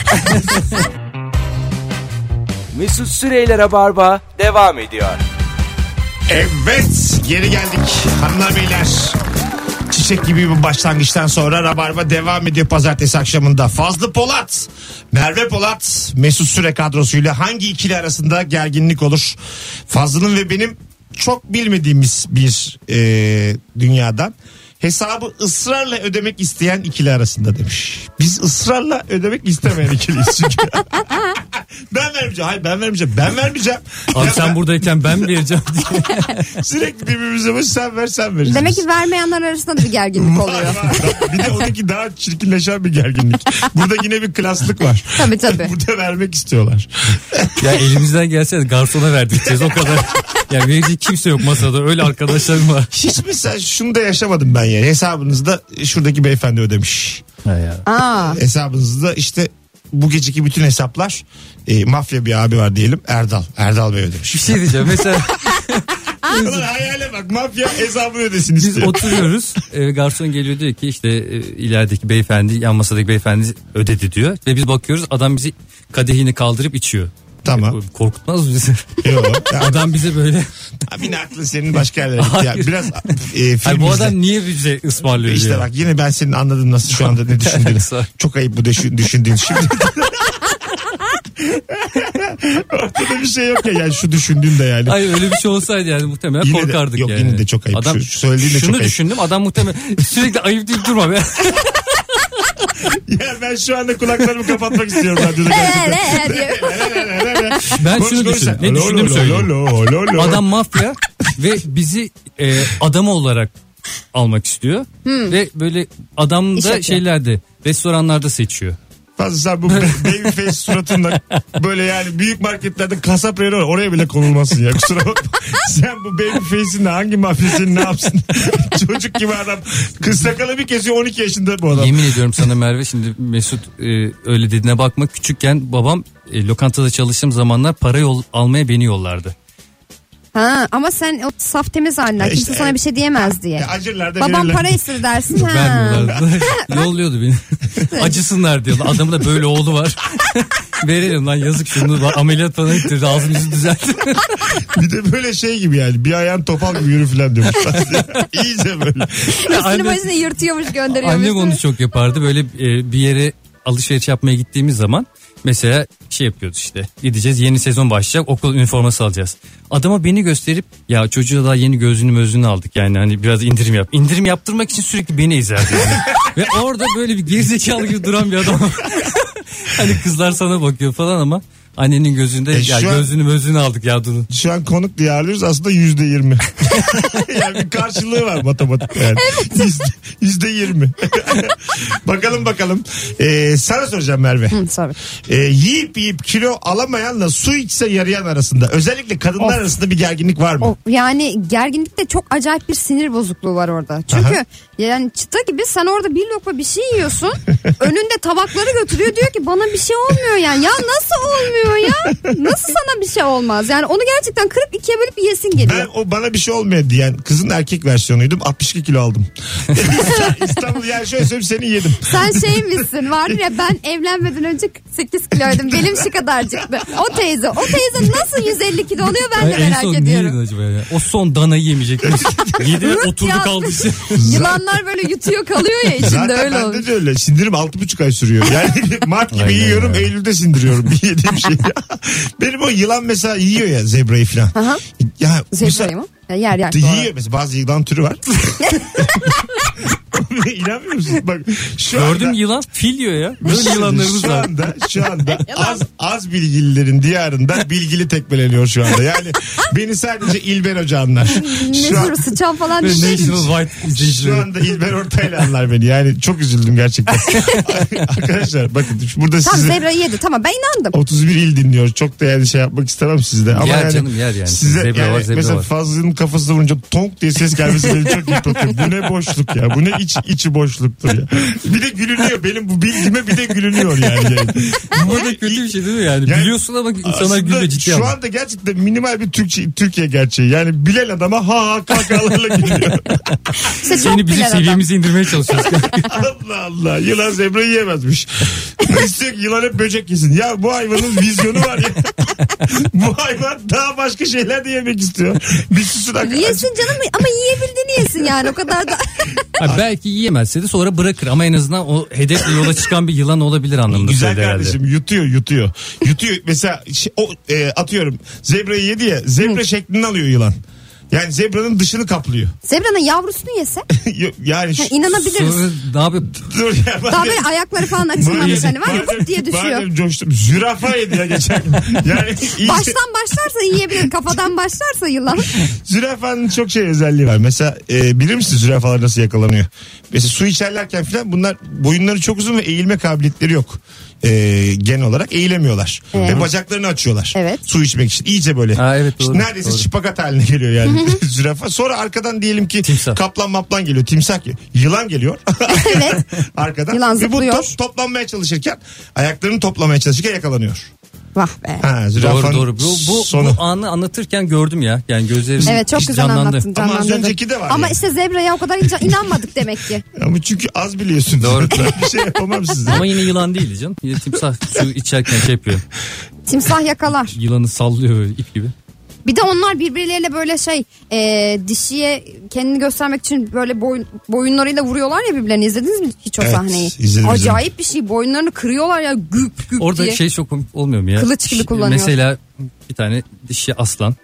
[SPEAKER 1] Mesut Süreyler'e barba devam ediyor.
[SPEAKER 2] Evet geri geldik hanımlar beyler. Çiçek gibi bir başlangıçtan sonra Rabarba devam ediyor pazartesi akşamında. Fazlı Polat, Merve Polat, Mesut Süre kadrosuyla hangi ikili arasında gerginlik olur? Fazlı'nın ve benim çok bilmediğimiz bir e, dünyadan hesabı ısrarla ödemek isteyen ikili arasında demiş. Biz ısrarla ödemek istemeyen ikiliyiz çünkü. ben vermeyeceğim. Hayır ben vermeyeceğim. Ben vermeyeceğim.
[SPEAKER 4] Abi
[SPEAKER 2] Ya ben-
[SPEAKER 4] sen buradayken ben vereceğim diye.
[SPEAKER 2] Sürekli birbirimize başı sen ver sen ver.
[SPEAKER 3] Demek ki vermeyenler arasında da bir gerginlik oluyor.
[SPEAKER 2] bir de ondaki daha çirkinleşen bir gerginlik. Burada yine bir klaslık var.
[SPEAKER 3] Tabii, tabii.
[SPEAKER 2] Burada vermek istiyorlar.
[SPEAKER 4] Ya elimizden gelse garsona verdireceğiz o kadar. Ya verecek kimse yok masada öyle arkadaşlarım var.
[SPEAKER 2] Hiç mesela şunu da yaşamadım ben yani. Hesabınızda şuradaki beyefendi ödemiş.
[SPEAKER 4] Ha ya.
[SPEAKER 3] Aa,
[SPEAKER 2] Hesabınızda işte bu geceki bütün hesaplar e, mafya bir abi var diyelim Erdal. Erdal Bey
[SPEAKER 4] Bir
[SPEAKER 2] ödemiş.
[SPEAKER 4] şey diyeceğim mesela
[SPEAKER 3] Ah.
[SPEAKER 2] Ulan hayale bak mafya hesabını ödesin
[SPEAKER 4] biz
[SPEAKER 2] istiyor.
[SPEAKER 4] oturuyoruz e, garson geliyor diyor ki işte e, ilerideki beyefendi yan masadaki beyefendi ödedi diyor. Ve biz bakıyoruz adam bizi kadehini kaldırıp içiyor.
[SPEAKER 2] Tamam.
[SPEAKER 4] Korkutmaz mı bizi?
[SPEAKER 2] Yok. Ya,
[SPEAKER 4] Adam bize böyle.
[SPEAKER 2] Yine aklın senin başka yerlere gitti. Ya.
[SPEAKER 4] Hayır.
[SPEAKER 2] Biraz e, film
[SPEAKER 4] Ay, bu
[SPEAKER 2] izle.
[SPEAKER 4] adam niye bize ısmarlıyor
[SPEAKER 2] İşte
[SPEAKER 4] diyor.
[SPEAKER 2] bak yine ben senin anladım nasıl şu anda ne düşündüğünü.
[SPEAKER 4] Sağ ol.
[SPEAKER 2] Çok ayıp bu düşün, düşündüğün şimdi. Ortada bir şey yok ya yani şu düşündüğün de yani.
[SPEAKER 4] Hayır öyle bir şey olsaydı yani muhtemelen
[SPEAKER 2] Yine de-
[SPEAKER 4] korkardık
[SPEAKER 2] yok,
[SPEAKER 4] yani.
[SPEAKER 2] yine de çok ayıp.
[SPEAKER 4] Adam,
[SPEAKER 2] Şu- söylediğin de çok
[SPEAKER 4] şunu
[SPEAKER 2] ayıp.
[SPEAKER 4] düşündüm adam muhtemelen sürekli ayıp deyip durma be.
[SPEAKER 2] Ya ben şu anda kulaklarımı kapatmak istiyorum radyoda.
[SPEAKER 3] e, e, e diyor.
[SPEAKER 4] Ben şunu düşündüm. Ne düşündüğümü söyleyeyim. Adam mafya ve bizi e, adam olarak almak istiyor. Ve böyle adam
[SPEAKER 3] İş
[SPEAKER 4] da
[SPEAKER 3] yapıyor.
[SPEAKER 4] şeylerde restoranlarda seçiyor.
[SPEAKER 2] Fazla sen bu be- baby face suratınla böyle yani büyük marketlerde kasap yeri var. Oraya bile konulmasın ya kusura bakma. sen bu baby face'inle hangi mafyasını ne yapsın? Çocuk gibi adam. Kız sakalı bir kesiyor 12 yaşında bu adam.
[SPEAKER 4] Yemin ediyorum sana Merve şimdi Mesut e, öyle dediğine bakma. Küçükken babam e, lokantada çalıştığım zamanlar para yol, almaya beni yollardı.
[SPEAKER 3] Ha, ama sen o saf temiz halinden
[SPEAKER 2] Ya işte,
[SPEAKER 3] kimse sana bir şey diyemez diye.
[SPEAKER 2] Ya Acırlar da
[SPEAKER 3] Babam
[SPEAKER 2] verirler.
[SPEAKER 3] para istedi dersin. ha.
[SPEAKER 4] Vermiyorlardı. Yolluyordu beni. Acısınlar diyordu. Adamın da böyle oğlu var. Verelim lan yazık şunu Bak, ameliyat falan ettirdi ağzını yüzünü düzeltti.
[SPEAKER 2] Bir de böyle şey gibi yani bir ayağın topal gibi yürü falan diyormuş. İyice böyle.
[SPEAKER 3] Üstünü
[SPEAKER 4] Anne-
[SPEAKER 3] başını yırtıyormuş gönderiyormuş.
[SPEAKER 4] Annem onu çok yapardı. Böyle e, bir yere alışveriş yapmaya gittiğimiz zaman mesela şey yapıyoruz işte. Gideceğiz yeni sezon başlayacak okul üniforması alacağız. Adama beni gösterip ya çocuğa daha yeni gözlüğünü mözlüğünü aldık yani hani biraz indirim yap. İndirim yaptırmak için sürekli beni ezerdi yani. Ve orada böyle bir gerizekalı gibi duran bir adam. hani kızlar sana bakıyor falan ama annenin gözünde
[SPEAKER 2] E
[SPEAKER 4] ya
[SPEAKER 2] şu an-
[SPEAKER 4] gözlüğünü mözlüğünü aldık ya durun.
[SPEAKER 2] Şu an konuk diye ağırlıyoruz aslında yüzde yirmi. yani bir karşılığı var matematikte yani. Yüzde- Yüzde yirmi. bakalım bakalım. Ee, sana soracağım Merve.
[SPEAKER 3] Hı, sorry.
[SPEAKER 2] Ee, yiyip yiyip kilo alamayanla su içse yarayan arasında özellikle kadınlar
[SPEAKER 3] Of.
[SPEAKER 2] arasında bir gerginlik var mı?
[SPEAKER 3] O, yani gerginlikte çok acayip bir sinir bozukluğu var orada. Çünkü
[SPEAKER 2] Aha.
[SPEAKER 3] yani çıta gibi sen orada bir lokma bir şey yiyorsun. önünde tabakları götürüyor diyor ki bana bir şey olmuyor yani. Ya nasıl olmuyor ya? Nasıl sana bir şey olmaz? Yani onu gerçekten kırıp ikiye bölüp yesin
[SPEAKER 2] Ben
[SPEAKER 3] geliyor.
[SPEAKER 2] o bana bir şey olmuyor diyen kızın erkek versiyonuydum. 62 kilo aldım. İstanbul yani şöyle söyleyeyim seni yedim.
[SPEAKER 3] Sen şey misin vardır ya ben evlenmeden önce 8 kiloydum benim şu kadarcıktı. O teyze o teyze nasıl 150 kilo oluyor ben de
[SPEAKER 4] en
[SPEAKER 3] merak
[SPEAKER 4] son
[SPEAKER 3] ediyorum.
[SPEAKER 4] niye acaba ya? O son danayı yemeyecekmiş. Yedi ve
[SPEAKER 3] Hırt
[SPEAKER 4] oturdu
[SPEAKER 3] ya.
[SPEAKER 4] kaldı işte.
[SPEAKER 3] Yılanlar böyle yutuyor kalıyor ya içinde
[SPEAKER 2] Zaten
[SPEAKER 3] öyle
[SPEAKER 2] bende
[SPEAKER 3] oluyor.
[SPEAKER 2] de öyle. Sindirim 6,5 ay sürüyor. Yani Mart gibi
[SPEAKER 4] Aynen
[SPEAKER 2] yiyorum
[SPEAKER 4] öyle.
[SPEAKER 2] Eylül'de sindiriyorum bir yediğim şey. Benim o yılan mesela yiyor ya zebrayı falan.
[SPEAKER 3] Aha.
[SPEAKER 2] Ya, mesela-
[SPEAKER 3] Zebrayı mı? Ya Yer yer. doğru.
[SPEAKER 2] Yiyor mesela bazı yılan türü var. İnanmıyor musun? Bak şu
[SPEAKER 4] Gördüm
[SPEAKER 2] anda...
[SPEAKER 4] yılan fil yiyor ya.
[SPEAKER 2] Bir şey
[SPEAKER 4] Böyle
[SPEAKER 2] söyleyeyim.
[SPEAKER 4] yılanlarımız
[SPEAKER 2] şu
[SPEAKER 4] var.
[SPEAKER 2] anda, şu anda az, az bilgililerin diyarında bilgili tekmeleniyor şu anda. Yani beni sadece İlber Hoca anlar. Şu, an,
[SPEAKER 3] Mezur sıçan falan
[SPEAKER 4] Ve
[SPEAKER 3] değil.
[SPEAKER 4] National White
[SPEAKER 2] şu
[SPEAKER 4] izleyicileri.
[SPEAKER 2] anda İlber Ortaylı anlar beni. Yani çok üzüldüm gerçekten. Arkadaşlar bakın burada
[SPEAKER 3] Tam
[SPEAKER 2] sizi
[SPEAKER 3] zebrayı yedi. Tamam ben inandım.
[SPEAKER 2] 31 il dinliyor. Çok da yani şey yapmak istemem sizde. Ama
[SPEAKER 4] Yer
[SPEAKER 2] yani
[SPEAKER 4] canım, yer yani.
[SPEAKER 2] Size
[SPEAKER 4] Zebra
[SPEAKER 2] yani
[SPEAKER 4] var, zebra
[SPEAKER 2] mesela
[SPEAKER 4] var.
[SPEAKER 2] Fazlı'nın kafasına vurunca tonk diye ses gelmesi beni çok yıpratıyor. Bu ne boşluk ya. Bu ne iç, içi boşluktur ya. Bir de gülünüyor. Benim bu bilgime bir de gülünüyor yani.
[SPEAKER 4] Bu da kötü bir şey değil mi yani?
[SPEAKER 2] Yani
[SPEAKER 4] Biliyorsun ama insanlar
[SPEAKER 2] Aslında
[SPEAKER 4] gülüyor ciddi
[SPEAKER 2] Şu
[SPEAKER 4] ama.
[SPEAKER 2] anda gerçekten minimal bir Türkçe, Türkiye gerçeği. Yani bilen adama ha ha kahkahalarla gülüyor.
[SPEAKER 3] İşte çok
[SPEAKER 4] Seni bizim
[SPEAKER 3] bilen adam.
[SPEAKER 4] seviyemize indirmeye çalışıyoruz.
[SPEAKER 2] Allah Allah. Yılan zebra yiyemezmiş. İstiyor ki yılan hep böcek yesin. Ya bu hayvanın vizyonu var ya. bu hayvan daha başka şeyler de yemek istiyor. Bir susun arkadaş.
[SPEAKER 3] Yesin canım ama yiyebildiğini yesin yani o kadar da.
[SPEAKER 4] Ha, belki yiyemezse de sonra bırakır ama en azından o hedefle yola çıkan bir yılan olabilir anlamında
[SPEAKER 2] Güzel
[SPEAKER 4] söyledi herhalde.
[SPEAKER 2] kardeşim yutuyor yutuyor. Yutuyor mesela şey- o, e, atıyorum zebrayı yedi ya zebra şeklini alıyor yılan. Yani zebranın dışını kaplıyor.
[SPEAKER 3] Zebranın yavrusunu yese
[SPEAKER 2] yani şu,
[SPEAKER 3] yani inanabiliriz.
[SPEAKER 4] Sonra ne yapıp
[SPEAKER 2] dur ya.
[SPEAKER 3] Daha böyle ayakları falan açılmamış hani var ya hop diye düşüyor.
[SPEAKER 2] Madem coştum. Zürafa yedi ya geçen gün. Yani iyice-
[SPEAKER 3] Baştan başlarsa yiyebilir kafadan başlarsa yılan.
[SPEAKER 2] zürafanın çok şey özelliği var. Mesela e, bilir misin zürafalar nasıl yakalanıyor? Mesela su içerlerken falan bunlar boyunları çok uzun ve eğilme kabiliyetleri yok. E, genel olarak eğilemiyorlar.
[SPEAKER 3] Evet.
[SPEAKER 2] Ve bacaklarını açıyorlar.
[SPEAKER 3] Evet.
[SPEAKER 2] Su içmek için. İyice böyle.
[SPEAKER 4] Ha, evet, doğru,
[SPEAKER 2] İşte neredeyse
[SPEAKER 4] doğru.
[SPEAKER 2] şıpakat haline geliyor yani zürafa. Sonra arkadan diyelim ki
[SPEAKER 4] Timsah.
[SPEAKER 2] kaplan maplan geliyor. Timsah geliyor. Yılan geliyor.
[SPEAKER 3] evet.
[SPEAKER 2] arkadan.
[SPEAKER 3] Yılan
[SPEAKER 2] Ve bu
[SPEAKER 3] zıplıyor.
[SPEAKER 2] top- toplanmaya çalışırken ayaklarını toplamaya çalışırken yakalanıyor.
[SPEAKER 3] Vah be.
[SPEAKER 2] Ha,
[SPEAKER 4] doğru
[SPEAKER 2] zürafanın
[SPEAKER 4] doğru. Bu, bu,
[SPEAKER 2] sonu.
[SPEAKER 4] bu anı anlatırken gördüm ya. Yani gözlerim
[SPEAKER 3] Evet çok güzel
[SPEAKER 4] canlandı.
[SPEAKER 3] anlattın
[SPEAKER 2] Ama az
[SPEAKER 3] canlandırdın.
[SPEAKER 2] önceki de var
[SPEAKER 3] Ama
[SPEAKER 2] ya.
[SPEAKER 3] işte zebraya o kadar inca- inanmadık demek ki.
[SPEAKER 2] Ama çünkü az biliyorsun.
[SPEAKER 4] Doğru.
[SPEAKER 2] Ben bir şey yapamam size.
[SPEAKER 4] Ama yine yılan değildi canım. Yine timsah su içerken şey yapıyor.
[SPEAKER 3] Timsah yakalar.
[SPEAKER 4] Yılanı sallıyor böyle ip gibi.
[SPEAKER 3] Bir de onlar birbirleriyle böyle şey e, dişiye kendini göstermek için böyle boyun, boyunlarıyla vuruyorlar ya birbirlerini. İzlediniz mi hiç o
[SPEAKER 2] Evet,
[SPEAKER 3] sahneyi?
[SPEAKER 2] izledim,
[SPEAKER 3] Acayip bir şey. Boyunlarını kırıyorlar ya güp güp
[SPEAKER 4] Orada
[SPEAKER 3] diye.
[SPEAKER 4] şey çok komik olmuyor mu ya?
[SPEAKER 3] Kılıç gibi
[SPEAKER 4] Ş-
[SPEAKER 3] kullanıyor.
[SPEAKER 4] Mesela bir tane dişi aslan,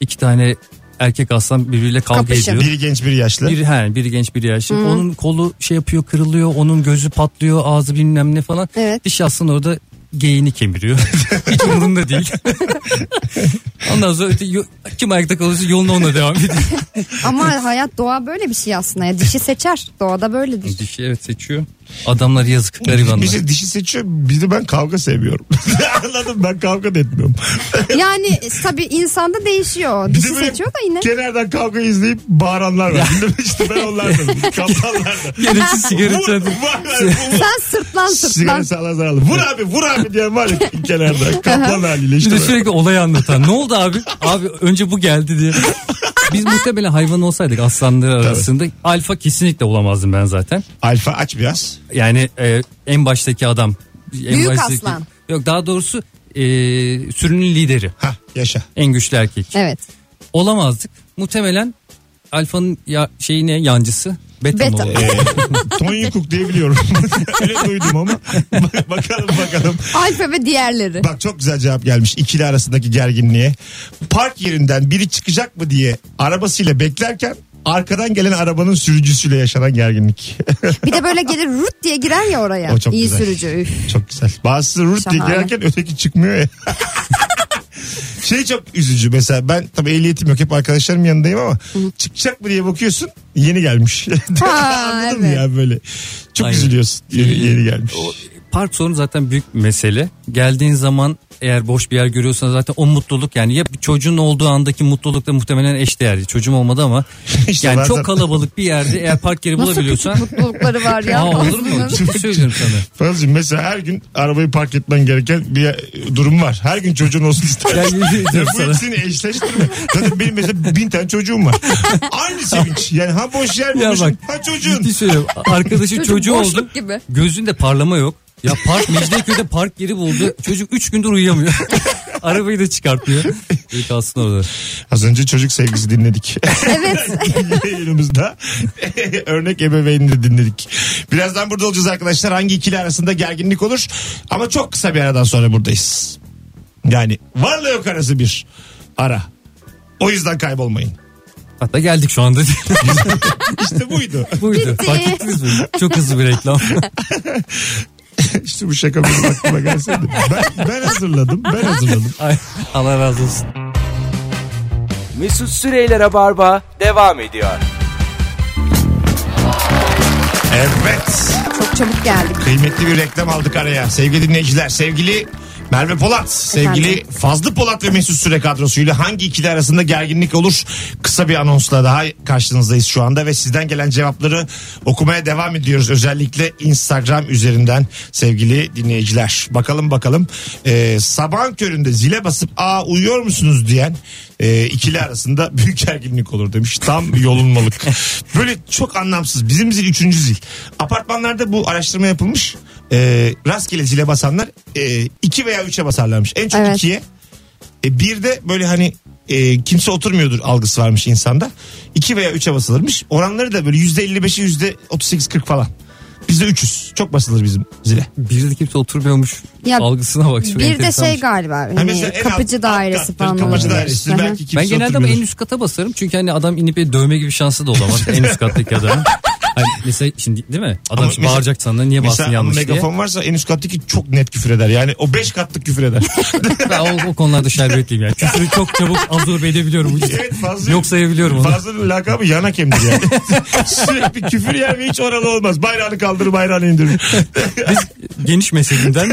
[SPEAKER 4] iki tane erkek aslan birbiriyle kavga
[SPEAKER 3] Kapışın.
[SPEAKER 4] ediyor.
[SPEAKER 2] Biri genç biri yaşlı.
[SPEAKER 4] Bir, he, biri genç biri yaşlı. Onun kolu şey yapıyor kırılıyor. Onun gözü patlıyor. Ağzı bilmem ne falan.
[SPEAKER 3] Evet.
[SPEAKER 4] Dişi aslan orada geyini kemiriyor. Hiç umurunda değil. Ondan sonra öte, yo- kim ayakta kalırsa yoluna onunla devam ediyor.
[SPEAKER 3] Ama hayat doğa böyle bir şey aslında. Ya. Dişi seçer. Doğada böyledir.
[SPEAKER 4] Dişi evet seçiyor. Adamlar yazık garibanlar.
[SPEAKER 2] Birisi dişi seçiyor bir de ben kavga sevmiyorum. Anladım ben kavga da etmiyorum.
[SPEAKER 3] Yani tabii insanda değişiyor.
[SPEAKER 2] Bir de
[SPEAKER 3] Dişi
[SPEAKER 2] böyle
[SPEAKER 3] seçiyor da yine.
[SPEAKER 2] Kenardan kavga izleyip bağıranlar var. işte ben onlardanım. Kaptanlar da.
[SPEAKER 4] Gereksiz sigara
[SPEAKER 2] Vur,
[SPEAKER 4] içerdim.
[SPEAKER 2] var, var, vur, vur.
[SPEAKER 3] Sen sırtlan
[SPEAKER 2] Sigara
[SPEAKER 3] sırtlan.
[SPEAKER 2] sağlar zararlı. Vur abi vur abi diyen var ya kenarda. Kaplan haliyle
[SPEAKER 4] Bir
[SPEAKER 2] işte.
[SPEAKER 4] de
[SPEAKER 2] böyle.
[SPEAKER 4] sürekli olayı anlatan. Ne oldu abi? Abi önce bu geldi diye. Biz muhtemelen hayvan olsaydık aslanlar arasında alfa kesinlikle olamazdım ben zaten.
[SPEAKER 2] Alfa aç biraz.
[SPEAKER 4] Yani e, en baştaki adam. En
[SPEAKER 3] Büyük
[SPEAKER 4] baştaki-
[SPEAKER 3] aslan.
[SPEAKER 4] Yok daha doğrusu e, sürünün lideri.
[SPEAKER 2] Hah yaşa.
[SPEAKER 4] En güçlü erkek.
[SPEAKER 3] Evet.
[SPEAKER 4] Olamazdık. Muhtemelen alfanın ya, şeyi ne yancısı? Beton
[SPEAKER 3] Beta.
[SPEAKER 4] oluyor.
[SPEAKER 2] Ee, Tony Cook diye biliyorum. Öyle duydum ama. bakalım bakalım.
[SPEAKER 3] Alfa ve diğerleri.
[SPEAKER 2] Bak çok güzel cevap gelmiş ikili arasındaki gerginliğe. Park yerinden biri çıkacak mı diye arabasıyla beklerken arkadan gelen arabanın sürücüsüyle yaşanan gerginlik.
[SPEAKER 3] Bir de böyle gelir rut diye girer ya oraya.
[SPEAKER 2] O çok
[SPEAKER 3] İyi
[SPEAKER 2] güzel.
[SPEAKER 3] sürücü. Üf.
[SPEAKER 2] Çok güzel. Bazısı rut diye
[SPEAKER 3] Şahane.
[SPEAKER 2] girerken öteki çıkmıyor ya. şey çok üzücü mesela ben tabii ehliyetim yok hep arkadaşlarım yanındayım ama çıkacak mı diye bakıyorsun yeni gelmiş.
[SPEAKER 3] Ha,
[SPEAKER 2] Anladın mı
[SPEAKER 3] evet.
[SPEAKER 2] ya böyle. Çok
[SPEAKER 4] Aynen.
[SPEAKER 2] üzülüyorsun yeni, yeni gelmiş.
[SPEAKER 4] O Park sorunu zaten büyük bir mesele. Geldiğin zaman eğer boş bir yer görüyorsan zaten o mutluluk yani ya bir çocuğun olduğu andaki mutluluk da muhtemelen eşdeğer. Çocuğum olmadı ama
[SPEAKER 2] İşte
[SPEAKER 4] yani
[SPEAKER 2] bazen-
[SPEAKER 4] çok kalabalık bir yerde eğer park yeri
[SPEAKER 3] Nasıl
[SPEAKER 4] bulabiliyorsan.
[SPEAKER 3] küçük mutlulukları var ya.
[SPEAKER 4] Aa, olur mu? Ciddi söylüyorum sana.
[SPEAKER 2] Fransızcığım mesela her gün arabayı park etmen gereken bir durum var. Her gün çocuğun olsun ister.
[SPEAKER 4] Gel
[SPEAKER 2] Ya
[SPEAKER 4] yürüyorum
[SPEAKER 2] bu
[SPEAKER 4] sana.
[SPEAKER 2] hepsini eşleştirme. Zaten benim mesela bin tane çocuğum var. Aynı sevinç. Yani ha boş yer
[SPEAKER 4] Ya
[SPEAKER 2] bulmuşum
[SPEAKER 4] bak,
[SPEAKER 2] ha çocuğun.
[SPEAKER 4] Ciddi söylüyorum. Arkadaşı
[SPEAKER 3] Çocuk
[SPEAKER 4] çocuğu
[SPEAKER 3] boşluk
[SPEAKER 4] oldu.
[SPEAKER 3] gibi.
[SPEAKER 4] Gözünde parlama yok. Ya park Mecidiyeköy'de park yeri buldu. Çocuk 3 gündür uyuyamıyor. Arabayı da çıkartmıyor. İyi kalsın orada.
[SPEAKER 2] Az önce çocuk sevgisi dinledik.
[SPEAKER 3] Evet.
[SPEAKER 2] Yayınımızda örnek ebeveynini de dinledik. Birazdan burada olacağız arkadaşlar. Hangi ikili arasında gerginlik olur? Ama çok kısa bir aradan sonra buradayız. Yani varla yok arası bir ara. O yüzden kaybolmayın.
[SPEAKER 4] Hatta geldik şu anda.
[SPEAKER 2] İşte buydu.
[SPEAKER 4] Buydu.
[SPEAKER 3] Bitti.
[SPEAKER 4] Fark ettiniz mi? Çok hızlı bir reklam.
[SPEAKER 2] İşte bu şaka benim aklıma gelseydi. Ben, ben hazırladım. Ben hazırladım.
[SPEAKER 4] Ay, Allah razı olsun.
[SPEAKER 1] Mesut Süreyler'e barba devam ediyor.
[SPEAKER 2] Evet.
[SPEAKER 3] Çok çabuk geldik.
[SPEAKER 2] Kıymetli bir reklam aldık araya. Sevgili dinleyiciler, sevgili Merve Polat, sevgili
[SPEAKER 3] Efendim?
[SPEAKER 2] Fazlı Polat ve Mesut Süre kadrosuyla hangi ikili arasında gerginlik olur? Kısa bir anonsla daha karşınızdayız şu anda ve sizden gelen cevapları okumaya devam ediyoruz. Özellikle Instagram üzerinden sevgili dinleyiciler. Bakalım bakalım. Ee, sabahın köründe zile basıp aa uyuyor musunuz diyen e, ikili arasında büyük gerginlik olur demiş. Tam yolunmalık. Böyle çok anlamsız. Bizim zil üçüncü zil. Apartmanlarda bu araştırma yapılmış. Ee, rastgele zile basanlar e, iki veya üçe basarlarmış. En çok
[SPEAKER 3] Evet.
[SPEAKER 2] ikiye. E, bir de böyle hani e, kimse oturmuyordur algısı varmış insanda. İki veya üçe basılırmış. Oranları da böyle yüzde elli beşi yüzde otuz sekiz kırk falan. Bizde üçüz. Çok basılır bizim zile.
[SPEAKER 4] Bir de kimse oturmuyormuş
[SPEAKER 3] Ya,
[SPEAKER 4] algısına bak. Şu
[SPEAKER 3] Bir de
[SPEAKER 4] enteresanmış.
[SPEAKER 3] şey galiba. Hani
[SPEAKER 2] mesela en
[SPEAKER 3] kapıcı
[SPEAKER 2] alt- alt
[SPEAKER 3] dairesi
[SPEAKER 2] kattır,
[SPEAKER 3] falan.
[SPEAKER 2] Kapıcı
[SPEAKER 3] olabilir.
[SPEAKER 2] dairesi.
[SPEAKER 3] Aha.
[SPEAKER 2] Belki kimse
[SPEAKER 4] Ben genelde ama
[SPEAKER 2] oturmuyordur.
[SPEAKER 4] en üst kata basarım. Çünkü hani adam inip bir dövme gibi şansı da olamaz. en üst kattaki adamın. Hani mesela şimdi değil mi? Adam
[SPEAKER 2] Ama
[SPEAKER 4] şimdi
[SPEAKER 2] mesela-
[SPEAKER 4] bağıracak sana niye bastın
[SPEAKER 2] Mesela
[SPEAKER 4] yanlış
[SPEAKER 2] megafon varsa en üst kattaki çok net küfür eder. Yani o 5 katlık küfür eder.
[SPEAKER 4] diye. Ben o, o konularda şerbetliyim yani. Küfürü çok çabuk absorbe edebiliyorum.
[SPEAKER 2] evet fazla.
[SPEAKER 4] Yok sayabiliyorum onu.
[SPEAKER 2] Fazla'nın lakamı yanak emdir yani. Sürekli küfür yer ve hiç oralı olmaz. Bayrağını kaldırır bayrağını indirir.
[SPEAKER 4] Geniş mezhebimden.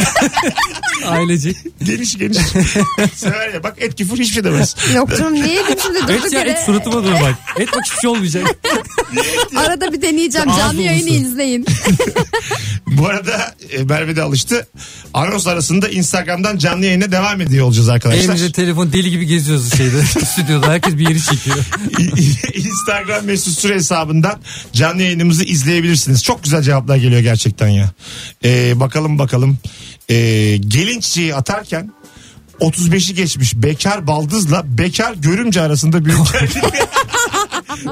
[SPEAKER 4] Ailecek.
[SPEAKER 2] Geniş geniş. Sever ya bak et küfür hiçbir şey demez.
[SPEAKER 3] Yok canım niye şimdi durduk
[SPEAKER 4] Et ya et
[SPEAKER 3] yere.
[SPEAKER 4] suratıma dur bak. Et bak hiçbir şey olmayacak.
[SPEAKER 3] Arada bir deneyeceğim.
[SPEAKER 4] Ağzı
[SPEAKER 3] Canlı yayını
[SPEAKER 4] olsun.
[SPEAKER 3] izleyin.
[SPEAKER 2] Bu arada e, Merve de alıştı. Anons arasında Instagram'dan canlı yayına devam ediyor olacağız arkadaşlar.
[SPEAKER 4] Elimizde telefon deli gibi geziyoruz şeyde. Stüdyoda herkes bir yeri çekiyor.
[SPEAKER 2] Instagram mesut süre hesabından canlı yayınımızı izleyebilirsiniz. Çok güzel cevaplar geliyor gerçekten ya. Ee, bakalım bakalım. Ee, gelin çiçeği atarken 35'i geçmiş bekar baldızla bekar görümce arasında büyük gerginlik.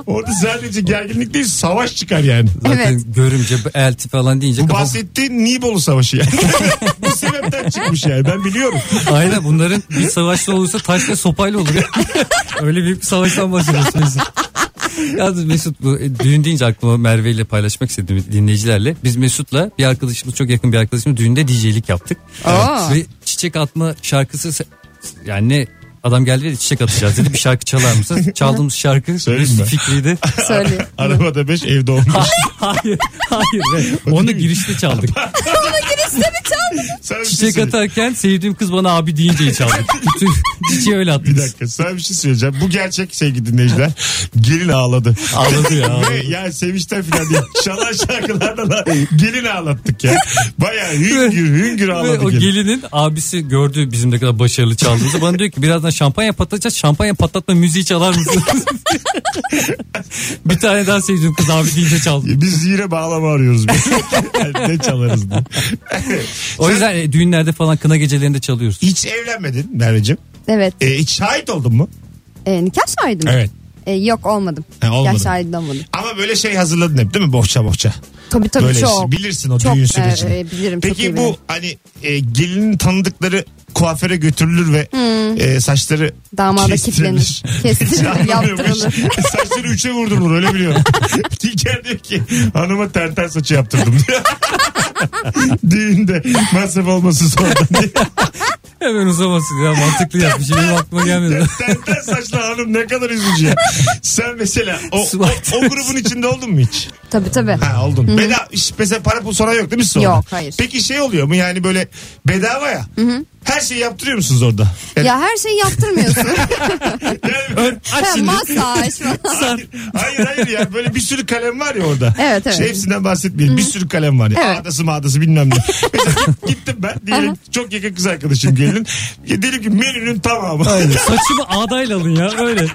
[SPEAKER 2] Orada sadece gerginlik değil savaş çıkar yani.
[SPEAKER 4] Zaten
[SPEAKER 3] Evet.
[SPEAKER 4] görümce elti falan deyince
[SPEAKER 2] Bu
[SPEAKER 4] kafa-
[SPEAKER 2] bahsettiğin Nibolu Savaşı yani. Bu sebepten çıkmış yani ben biliyorum.
[SPEAKER 4] Aynen bunların bir savaşta olursa taşla sopayla olur. Öyle büyük bir savaştan bahsediyorsun Mesut. Yalnız Mesut bu e, düğün deyince aklıma Merve ile paylaşmak istedim dinleyicilerle. Biz Mesut'la bir arkadaşımız çok yakın bir arkadaşımız düğünde DJ'lik yaptık.
[SPEAKER 3] Aa.
[SPEAKER 4] Ve çiçek atma şarkısı se- yani ne Adam geldi dedi çiçek atacağız dedi bir şarkı çalar mısın? Çaldığımız şarkı
[SPEAKER 2] Söyleyeyim
[SPEAKER 4] Hüsnü
[SPEAKER 2] mi?
[SPEAKER 4] Fikri'ydi.
[SPEAKER 3] Söyle.
[SPEAKER 2] Arabada 5 evde 15.
[SPEAKER 4] hayır hayır. Onu girişte çaldık.
[SPEAKER 2] Sana bir şey
[SPEAKER 4] Çiçek
[SPEAKER 2] söyleyeyim.
[SPEAKER 4] atarken sevdiğim kız bana abi deyince çaldık. Bütün çiçeği öyle attık.
[SPEAKER 2] Bir dakika sana bir şey söyleyeceğim. Bu gerçek sevgili dinleyiciler. Gelin ağladı.
[SPEAKER 4] Ağladı ya.
[SPEAKER 2] Ve yani sevinçten falan değil. Çalan şarkılardan da gelin ağlattık ya. Baya hüngür hüngür
[SPEAKER 4] Ve
[SPEAKER 2] ağladı
[SPEAKER 4] o
[SPEAKER 2] gelin.
[SPEAKER 4] gelinin abisi gördü bizim ne kadar başarılı çaldığımızı. Bana diyor ki birazdan şampanya patlatacağız. Şampanya patlatma müziği çalar mısın? bir tane daha sevdiğim kız abi deyince çaldı.
[SPEAKER 2] Biz yine bağlama arıyoruz. Yani ne çalarız diye.
[SPEAKER 4] O yüzden e, düğünlerde falan kına gecelerinde çalıyoruz.
[SPEAKER 2] Hiç evlenmedin Merveciğim.
[SPEAKER 3] Evet.
[SPEAKER 2] E, hiç şahit oldun mu?
[SPEAKER 3] E, nikah şahidi mi?
[SPEAKER 2] Evet.
[SPEAKER 3] E, yok olmadım.
[SPEAKER 2] Ha, olmadı.
[SPEAKER 3] Nikah şahidi olmadım.
[SPEAKER 2] Ama böyle şey hazırladın hep değil mi? Bohça bohça.
[SPEAKER 3] Tabii tabii
[SPEAKER 2] böyle
[SPEAKER 3] çok.
[SPEAKER 2] bilirsin o
[SPEAKER 3] Çok,
[SPEAKER 2] düğün
[SPEAKER 3] e,
[SPEAKER 2] sürecini.
[SPEAKER 3] e, bilirim, çok
[SPEAKER 2] Peki
[SPEAKER 3] iyi
[SPEAKER 2] bu
[SPEAKER 3] bilirim.
[SPEAKER 2] hani e, gelinin tanıdıkları kuaföre götürülür ve e, saçları
[SPEAKER 3] Damada
[SPEAKER 2] kestirilir.
[SPEAKER 3] kilitlenir. Hmm. Kestirilir, yaptırılır.
[SPEAKER 2] saçları üçe vurdurulur öyle biliyorum. Dilker diyor ki hanıma terten saçı yaptırdım diyor. Düğünde masraf olmasın sonradan diye.
[SPEAKER 4] Hemen uzamasın ya mantıklı yapmış. Benim aklıma gelmedi.
[SPEAKER 2] Terten saçlı hanım ne kadar üzücü ya. Sen mesela o, o, o grubun içinde oldun mu hiç?
[SPEAKER 3] Tabii tabii.
[SPEAKER 2] Ha oldun. Beda iş- mesela para pul soran yok değil mi size
[SPEAKER 3] Yok,
[SPEAKER 2] orada?
[SPEAKER 3] hayır.
[SPEAKER 2] Peki şey oluyor mu yani böyle bedava ya. Her şeyi yaptırıyor musunuz orada? Yani,
[SPEAKER 3] Ya her şeyi yaptırmıyorsun.
[SPEAKER 2] yani-
[SPEAKER 4] Aç
[SPEAKER 3] Ha,
[SPEAKER 4] şimdi.
[SPEAKER 3] Masaj falan.
[SPEAKER 2] hayır, hayır hayır ya böyle bir sürü kalem var ya orada.
[SPEAKER 3] Evet, evet.
[SPEAKER 2] Şey, hepsinden bahsetmeyelim. Bir sürü kalem var ya.
[SPEAKER 3] Evet.
[SPEAKER 2] Ağdası mağdası bilmem ne. Mesela gittim ben diyelim çok yakın kız arkadaşım gelin. Dedim ki menünün tamamı.
[SPEAKER 4] Saçımı ağdayla alın ya öyle.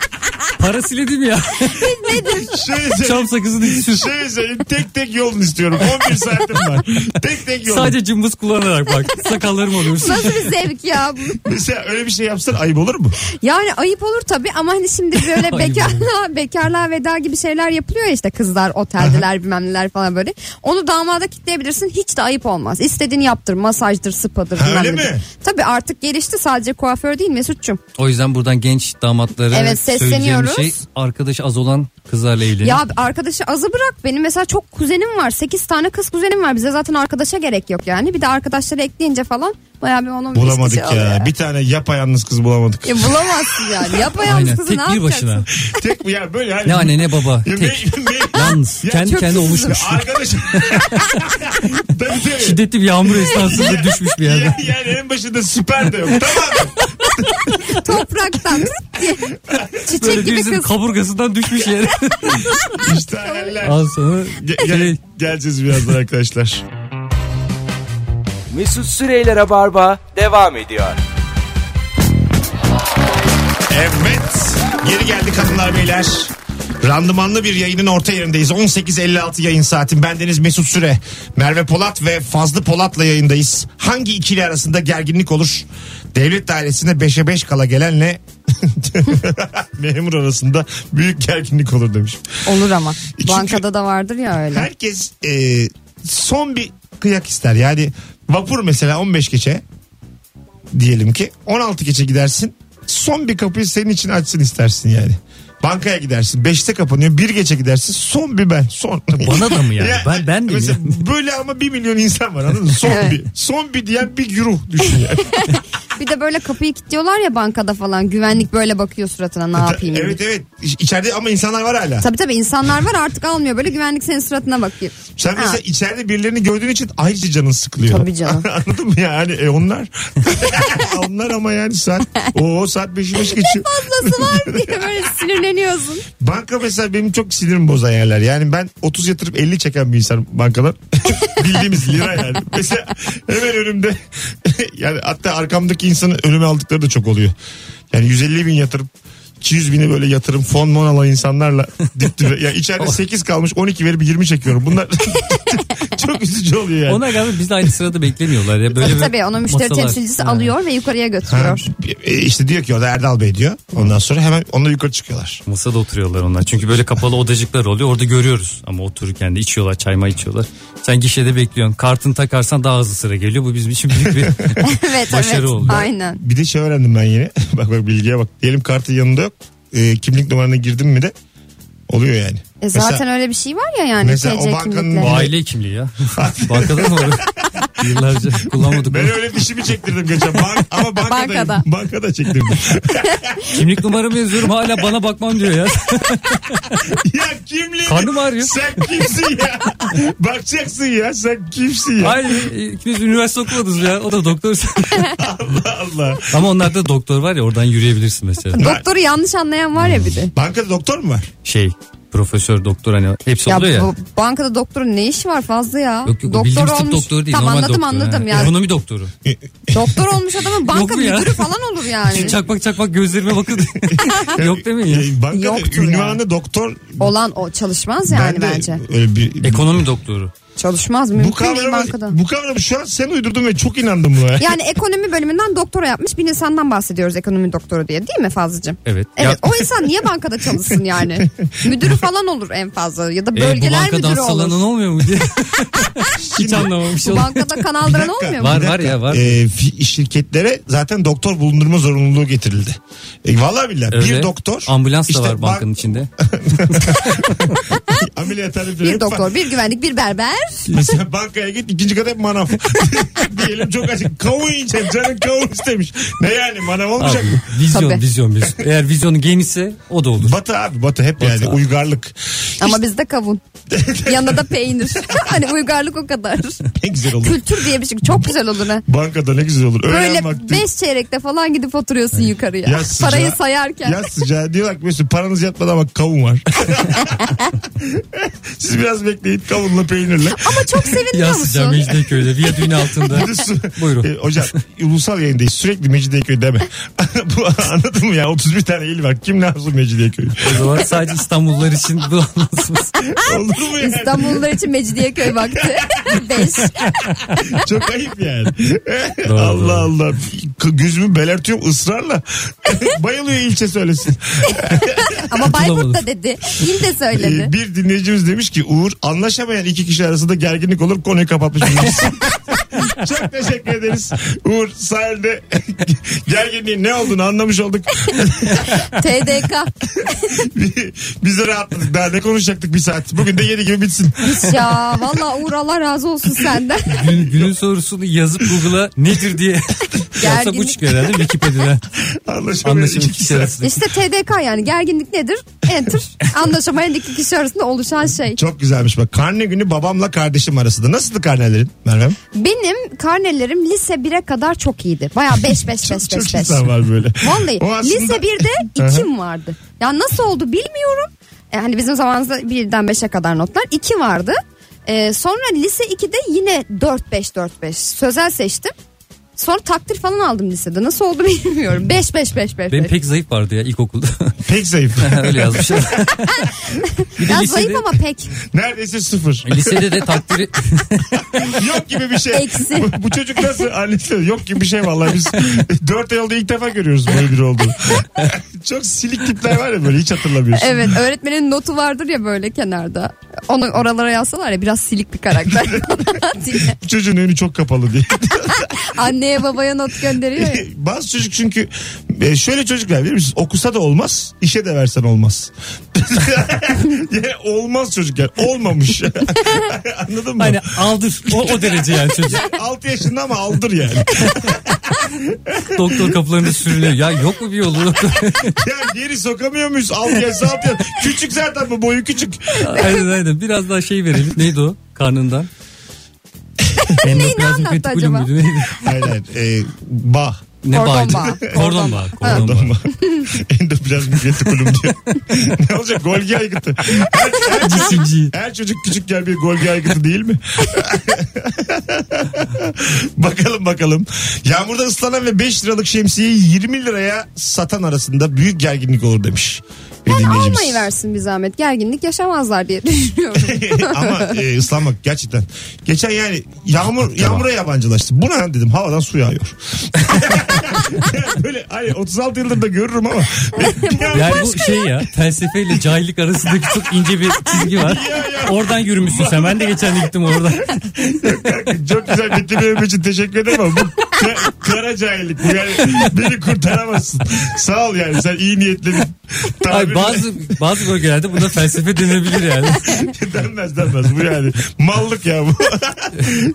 [SPEAKER 4] Parasıyla değil mi ya?
[SPEAKER 2] Şöyle söyleyeyim.
[SPEAKER 4] Çam sakızını sür.
[SPEAKER 2] Şöyle söyleyeyim tek tek yolun istiyorum. 11 saatim var. Tek tek yolun.
[SPEAKER 4] Sadece cımbız kullanarak bak. Sakallarım oluyor.
[SPEAKER 3] Nasıl bir zevk ya bu?
[SPEAKER 2] Mesela öyle bir şey yapsan ayıp olur mu?
[SPEAKER 3] Yani ayıp olur tabii ama hani şimdi böyle
[SPEAKER 4] Ayıp
[SPEAKER 3] bekarlığa, bekarlığa veda gibi şeyler yapılıyor ya işte kızlar oteldeler bilmem neler falan böyle. Onu damada kitleyebilirsin hiç de ayıp olmaz. İstediğini yaptır masajdır spadır
[SPEAKER 2] Ha,
[SPEAKER 3] bilmem
[SPEAKER 2] öyle
[SPEAKER 3] nedir.
[SPEAKER 2] mi?
[SPEAKER 3] Tabii artık gelişti sadece kuaför değil Mesut'cum.
[SPEAKER 4] O yüzden buradan genç damatlara
[SPEAKER 3] Evet,
[SPEAKER 4] söyleyeceğim
[SPEAKER 3] sesleniyoruz.
[SPEAKER 4] şey arkadaş az olan kızlarla eğlenin.
[SPEAKER 3] Ya arkadaşı azı bırak benim mesela çok kuzenim var 8 tane kız kuzenim var bize zaten arkadaşa gerek yok yani. Bir de arkadaşları ekleyince falan bayağı bir şey onun
[SPEAKER 2] Bulamadık ya. Bir tane yapayalnız kız bulamadık.
[SPEAKER 3] Ya E, bulamazsın yani. Yapayalnız
[SPEAKER 4] Aynen
[SPEAKER 3] kızı
[SPEAKER 4] tek
[SPEAKER 3] ne
[SPEAKER 4] bir
[SPEAKER 3] yapacaksın?
[SPEAKER 4] başına.
[SPEAKER 2] Tek bu ya böyle hani.
[SPEAKER 4] Ne anne ne baba
[SPEAKER 2] Ya
[SPEAKER 4] tek.
[SPEAKER 2] me- me-
[SPEAKER 4] Yalnız
[SPEAKER 2] Ya
[SPEAKER 4] kendi
[SPEAKER 3] çok
[SPEAKER 4] kendi
[SPEAKER 3] hızlı.
[SPEAKER 4] oluşmuş.
[SPEAKER 2] Arkadaşım. tabii tabii.
[SPEAKER 4] Şiddetli bir yağmur esnasında düşmüş bir yerden.
[SPEAKER 2] Ya- yani en başında süper de yok. Tamam.
[SPEAKER 3] Topraktan tut diye. Çiçek
[SPEAKER 4] Böyle
[SPEAKER 3] gibi
[SPEAKER 4] birisinin
[SPEAKER 3] kız.
[SPEAKER 4] kaburgasından düşmüş yere.
[SPEAKER 2] İşte hayaller.
[SPEAKER 4] Al sana. şey,
[SPEAKER 2] Ge- gel- geleceğiz birazdan arkadaşlar.
[SPEAKER 1] Mesut Süreyler'e barba devam ediyor.
[SPEAKER 2] Evet. Geri geldik hanımlar beyler. Randımanlı bir yayının orta yerindeyiz. 18.56 yayın saatin. Bendeniz Mesut Süre, Merve Polat ve Fazlı Polat'la yayındayız. Hangi ikili arasında gerginlik olur? Devlet dairesine 5'e 5 kala gelenle memur arasında büyük gerginlik olur demiş.
[SPEAKER 3] Olur ama.
[SPEAKER 2] Çünkü-
[SPEAKER 3] Bankada da vardır ya öyle.
[SPEAKER 2] Herkes e, son bir kıyak ister. Yani vapur mesela 15 geçe diyelim ki 16 geçe gidersin. Son bir kapıyı senin için açsın istersin yani. Bankaya gidersin. 5'te kapanıyor. 1 geçe gidersin. Son bir ben. Son.
[SPEAKER 4] Bana da mı yani? Ben- ben de mi
[SPEAKER 2] mesela Böyle ama 1 milyon insan var anladın mı? Son
[SPEAKER 3] Evet.
[SPEAKER 2] bir. Son bir diyen bir güruh düşün yani.
[SPEAKER 3] Bir de böyle kapıyı kilitliyorlar ya bankada falan. Güvenlik böyle bakıyor suratına
[SPEAKER 4] E,
[SPEAKER 3] ne yapayım diye.
[SPEAKER 2] evet evet. İçeride ama insanlar var hala.
[SPEAKER 3] Tabii tabii insanlar var artık almıyor. Böyle güvenlik senin suratına bakıyor.
[SPEAKER 2] Sen mesela
[SPEAKER 3] Ha.
[SPEAKER 2] içeride birilerini gördüğün için ayrıca canın sıkılıyor.
[SPEAKER 3] Tabii canım.
[SPEAKER 2] Anladın mı yani? E onlar. onlar ama yani saat. O saat beşi beş geçiyor.
[SPEAKER 3] Ablası var diye böyle sinirleniyorsun.
[SPEAKER 2] Banka mesela benim çok sinirim bozan yerler. Yani ben 30 yatırıp 50 çeken bir insanım bankadan. Bildiğimiz lira yani. Mesela hemen önümde yani hatta arkamdaki insanı önüme aldıkları da çok oluyor. Yani 150 bin yatırıp 200 bini böyle yatırım fon mon alan insanlarla dip dibe. Ya içeride 8 kalmış 12 verip 20 çekiyorum. Bunlar çok üzücü oluyor yani.
[SPEAKER 4] Ona galiba biz de aynı sırada beklemiyorlar ya. Böyle
[SPEAKER 3] Tabii
[SPEAKER 4] bir
[SPEAKER 3] tabii onu müşteri
[SPEAKER 4] masalar.
[SPEAKER 3] temsilcisi
[SPEAKER 4] Ha.
[SPEAKER 3] alıyor ve yukarıya
[SPEAKER 2] Ha,
[SPEAKER 3] götürüyor.
[SPEAKER 2] e, işte diyor ki orada Erdal Bey diyor. Ondan sonra hemen onunla yukarı çıkıyorlar.
[SPEAKER 4] Masada oturuyorlar onlar. Çünkü böyle kapalı odacıklar oluyor. Orada görüyoruz. Ama otururken de içiyorlar. Çayma içiyorlar. Sen gişede bekliyorsun. Kartını takarsan daha hızlı sıra geliyor. Bu bizim için büyük bir
[SPEAKER 3] evet
[SPEAKER 4] Başarı
[SPEAKER 3] evet.
[SPEAKER 4] oldu.
[SPEAKER 3] Aynen. E,
[SPEAKER 2] Bir de şey öğrendim ben yine. bak bak bilgiye bak. Diyelim kartın yanında yok. E, kimlik numarana girdim mi de oluyor yani.
[SPEAKER 3] E zaten
[SPEAKER 2] Mesela-
[SPEAKER 3] öyle bir şey var ya yani.
[SPEAKER 2] Mesela
[SPEAKER 3] TC
[SPEAKER 2] o bankanın-
[SPEAKER 3] kimlikle.
[SPEAKER 4] aile kimliği ya. Bankada mı oluyor? Yıllarca kullanmadık.
[SPEAKER 2] Ben öyle dişimi çektirdim geçen. Ban- ama bankadayım.
[SPEAKER 3] Bankada.
[SPEAKER 2] Bankada çektirdim.
[SPEAKER 4] Kimlik numaramı yazıyorum hala bana bakmam diyor ya.
[SPEAKER 2] ya kimliğini...
[SPEAKER 4] Karnım ağrıyor.
[SPEAKER 2] Sen kimsin ya? Bakacaksın ya sen kimsin ya?
[SPEAKER 4] Hayır ikiniz üniversite okumadınız ya. O da doktor.
[SPEAKER 2] Allah.
[SPEAKER 4] Ama onlarda doktor var ya oradan yürüyebilirsin mesela.
[SPEAKER 3] Doktoru yanlış anlayan var ya bir de.
[SPEAKER 2] Bankada doktor mu var?
[SPEAKER 4] Şey profesör doktor hani hepsi
[SPEAKER 3] Ya,
[SPEAKER 4] oluyor ya.
[SPEAKER 3] bu bankada doktorun ne işi var fazla ya?
[SPEAKER 4] Yok yok o
[SPEAKER 3] doktor
[SPEAKER 4] bildiğimiz tıp
[SPEAKER 3] olmuş.
[SPEAKER 4] doktoru değil.
[SPEAKER 3] tamam
[SPEAKER 4] normal
[SPEAKER 3] anladım
[SPEAKER 4] doktor,
[SPEAKER 3] anladım
[SPEAKER 4] ha.
[SPEAKER 3] ya.
[SPEAKER 4] Ekonomi doktoru.
[SPEAKER 3] Doktor olmuş adamın banka
[SPEAKER 4] mu ya?
[SPEAKER 3] müdürü falan olur yani.
[SPEAKER 4] Çakmak çakmak gözlerime bakın. yok demeyin ya.
[SPEAKER 2] Ee, Bankada
[SPEAKER 3] Yoktur
[SPEAKER 2] ünvanı doktor...
[SPEAKER 3] Olan o çalışmaz yani
[SPEAKER 2] Ben de
[SPEAKER 3] bence.
[SPEAKER 2] Öyle bir,
[SPEAKER 4] Ekonomi doktoru.
[SPEAKER 3] Çalışmaz
[SPEAKER 2] bu
[SPEAKER 3] mümkün değil
[SPEAKER 2] kavramı,
[SPEAKER 3] bankada.
[SPEAKER 2] bu kavramı şu an sen uydurdun ve çok inandım buna.
[SPEAKER 3] Yani ekonomi bölümünden doktora yapmış bir insandan bahsediyoruz ekonomi doktoru diye değil mi Fazlıcığım?
[SPEAKER 4] Evet.
[SPEAKER 3] Evet
[SPEAKER 4] Ya-
[SPEAKER 3] o insan niye bankada çalışsın yani? Müdürü falan olur en fazla ya da
[SPEAKER 4] E, bu
[SPEAKER 3] bölgeler
[SPEAKER 4] bankadan
[SPEAKER 3] müdürü olur.
[SPEAKER 4] sallanan olmuyor mu diye. Hiç anlamamış
[SPEAKER 3] Bu
[SPEAKER 4] oldum.
[SPEAKER 3] bankada kanaldıran
[SPEAKER 2] dakika.
[SPEAKER 3] olmuyor mu?
[SPEAKER 4] Var var ya var.
[SPEAKER 2] Ee, fi- şirketlere zaten doktor bulundurma zorunluluğu getirildi. E, Valla billahi
[SPEAKER 4] Öyle.
[SPEAKER 2] bir doktor.
[SPEAKER 4] Ambulans da
[SPEAKER 2] işte
[SPEAKER 4] var bankanın içinde.
[SPEAKER 2] Bank, ameliyathane
[SPEAKER 3] Bir
[SPEAKER 2] direkt-
[SPEAKER 3] doktor, bir güvenlik, bir berber.
[SPEAKER 2] Mesela bankaya git ikinci kat hep manav. Diyelim çok açık. Kavun yiyeceğim canın kavun istemiş. Ne yani manav
[SPEAKER 4] Abi,
[SPEAKER 2] olmayacak mı?
[SPEAKER 4] vizyon,
[SPEAKER 3] Tabii.
[SPEAKER 4] vizyon vizyon. Eğer vizyonu genişse o da olur.
[SPEAKER 2] Batı abi batı hep yani
[SPEAKER 4] abi.
[SPEAKER 2] uygarlık.
[SPEAKER 3] Ama bizde kavun. Yanında da peynir. hani uygarlık o kadar.
[SPEAKER 2] Ne güzel olur.
[SPEAKER 3] Kültür diye bir şey çok güzel olur ha.
[SPEAKER 2] Bankada ne güzel olur. Öğlen
[SPEAKER 3] Böyle
[SPEAKER 2] vakti.
[SPEAKER 3] beş çeyrekte falan gidip oturuyorsun yukarıya.
[SPEAKER 2] Yaz sıcağı-
[SPEAKER 3] Parayı sayarken.
[SPEAKER 2] Yaz sıcağı diyorlar ki Mesut paranız yatmadı ama kavun var. Siz biraz bekleyin kavunla peynirle.
[SPEAKER 3] Ama çok seviniyor
[SPEAKER 4] Yansıca
[SPEAKER 3] musun?
[SPEAKER 4] Mecidiyeköy'de viyadüğün altında.
[SPEAKER 2] Bir de su-
[SPEAKER 4] Buyurun.
[SPEAKER 2] E, hocam ulusal yayındayız sürekli Mecidiyeköy deme. Bu anladın mı ya 31 tane il var. Kim ne yapsın Mecidiyeköy?
[SPEAKER 4] O zaman sadece İstanbullular için bu anlamsız.
[SPEAKER 2] Olur mu yani?
[SPEAKER 3] İstanbullular için Mecidiyeköy vakti. Beş.
[SPEAKER 2] Çok ayıp yani.
[SPEAKER 4] Doğru,
[SPEAKER 2] Allah
[SPEAKER 4] doğru.
[SPEAKER 2] Allah. K- Gözümü belertiyorum ısrarla. Bayılıyor ilçe söylesin.
[SPEAKER 3] Ama Bayburt
[SPEAKER 4] Katılamadım.
[SPEAKER 3] da dedi. İl de söyledi.
[SPEAKER 2] Ee, bir dinleyicimiz demiş ki Uğur anlaşamayan iki kişi arasında gerginlik olur konuyu kapatmış. oluruz." Çok teşekkür ederiz. Uğur sahilde gerginliğin ne olduğunu anlamış olduk.
[SPEAKER 3] TDK.
[SPEAKER 2] Biz de rahatladık. Daha ne konuşacaktık bir saat. Bugün de yedi gibi bitsin.
[SPEAKER 3] Ya valla Uğur Allah razı olsun senden.
[SPEAKER 4] Gün, günün sorusunu yazıp Google'a nedir diye yapsa bu
[SPEAKER 3] Gerginlik.
[SPEAKER 4] çıkıyor herhalde Wikipedia'dan.
[SPEAKER 2] Anlaşamayan
[SPEAKER 4] Anlaşılan
[SPEAKER 2] iki
[SPEAKER 4] iki
[SPEAKER 2] kişi
[SPEAKER 4] kişi
[SPEAKER 2] arasında.
[SPEAKER 4] arasında.
[SPEAKER 3] İşte TDK yani gerginlik nedir? Enter. Anlaşamayan iki kişi arasında oluşan şey.
[SPEAKER 2] Çok güzelmiş bak. Karne günü babamla kardeşim arasında. Nasıldı karnelerin Merve?
[SPEAKER 3] Benim karnelerim lise 1'e kadar çok iyiydi. Baya 5 5 5
[SPEAKER 2] Çok
[SPEAKER 3] 5 5.
[SPEAKER 2] insan var böyle.
[SPEAKER 3] Vallahi
[SPEAKER 2] O aslında-
[SPEAKER 3] lise 1'de 2'm vardı. Ya nasıl oldu bilmiyorum. Yani bizim zamanımızda 1'den 5'e kadar notlar 2 vardı. Ee, sonra lise 2'de yine 4 5 4 5 sözel seçtim. Sonra takdir falan aldım lisede. Nasıl oldu bilmiyorum. 5 5 5 5.
[SPEAKER 4] Benim pek zayıf vardı ya ilkokulda.
[SPEAKER 2] Pek zayıf.
[SPEAKER 4] Öyle yazmışlar. bir de
[SPEAKER 3] ya
[SPEAKER 4] lisede,
[SPEAKER 3] zayıf ama pek.
[SPEAKER 2] Neredeyse sıfır.
[SPEAKER 4] lisede de takdiri
[SPEAKER 2] Yok gibi bir şey.
[SPEAKER 3] Eksi.
[SPEAKER 2] Bu, bu çocuk nasıl annesi? Yok gibi bir şey vallahi biz 4 ay oldu ilk defa görüyoruz böyle biri olduğunu. Çok silik tipler var ya böyle hiç hatırlamıyorsun.
[SPEAKER 3] Evet öğretmenin notu vardır ya böyle kenarda. Onu oralara yazsalar ya biraz silik bir karakter. diye.
[SPEAKER 2] Bu çocuğun önü çok kapalı diye.
[SPEAKER 3] Anneye babaya not gönderiyor ya.
[SPEAKER 2] Bazı çocuk çünkü e, şöyle çocuklar bilir misiniz? Okusa da olmaz, işe de versen olmaz. yani olmaz çocuklar. Olmamış. Anladın mı?
[SPEAKER 4] hani aldır o, o derece yani çocuk.
[SPEAKER 2] 6 yaşında ama aldır yani.
[SPEAKER 4] Doktor kapılarında sürülüyor. Ya yok mu bir yolu?
[SPEAKER 2] Ya geri sokamıyor muyuz? 6 yaş, 6 yaş. Küçük zaten bu boyu küçük.
[SPEAKER 4] aynen aynen biraz daha şey verelim. Neydi o karnından? Endoplazmik
[SPEAKER 3] anlattı
[SPEAKER 4] retikulum
[SPEAKER 3] acaba?
[SPEAKER 4] muydu? Neydi?
[SPEAKER 2] Aynen. E, bah.
[SPEAKER 4] Ne
[SPEAKER 3] Kordon
[SPEAKER 4] bağıydı?
[SPEAKER 3] bağı.
[SPEAKER 4] Kordon bağı. Kordon bağı.
[SPEAKER 2] Tamam. Endoplazmik retikulum diyor. ne olacak? Golgi aygıtı. Her, her, çocuk,
[SPEAKER 4] Cisimciği.
[SPEAKER 2] her çocuk küçükken bir golgi aygıtı değil mi? bakalım bakalım. Yağmurda ıslanan ve 5 liralık şemsiyeyi 20 liraya satan arasında büyük gerginlik olur demiş. Bir dinleyicimiz.
[SPEAKER 3] Almayı versin bir zahmet. Gerginlik yaşamazlar diye düşünüyorum.
[SPEAKER 2] Ama e, ıslanmak gerçekten. Geçen yani yağmur yağmura yabancılaştı. Bu ne lan dedim havadan su yağıyor. Yani Böyle hani 36 yıldır da görürüm ama.
[SPEAKER 4] Yani bu şey ya felsefeyle cahillik arasındaki çok ince bir çizgi var. Oradan yürümüşsün sen. Ben de geçen de gittim oradan.
[SPEAKER 2] Çok güzel bitti benim için teşekkür ederim ama bu Ka- kara cahillik bu yani. Beni kurtaramazsın. Sağ ol yani sen iyi niyetli bir
[SPEAKER 4] Ay
[SPEAKER 2] tabirle-
[SPEAKER 4] bazı bazı bölgelerde buna felsefe denebilir yani.
[SPEAKER 2] denmez denmez bu yani. Mallık ya bu.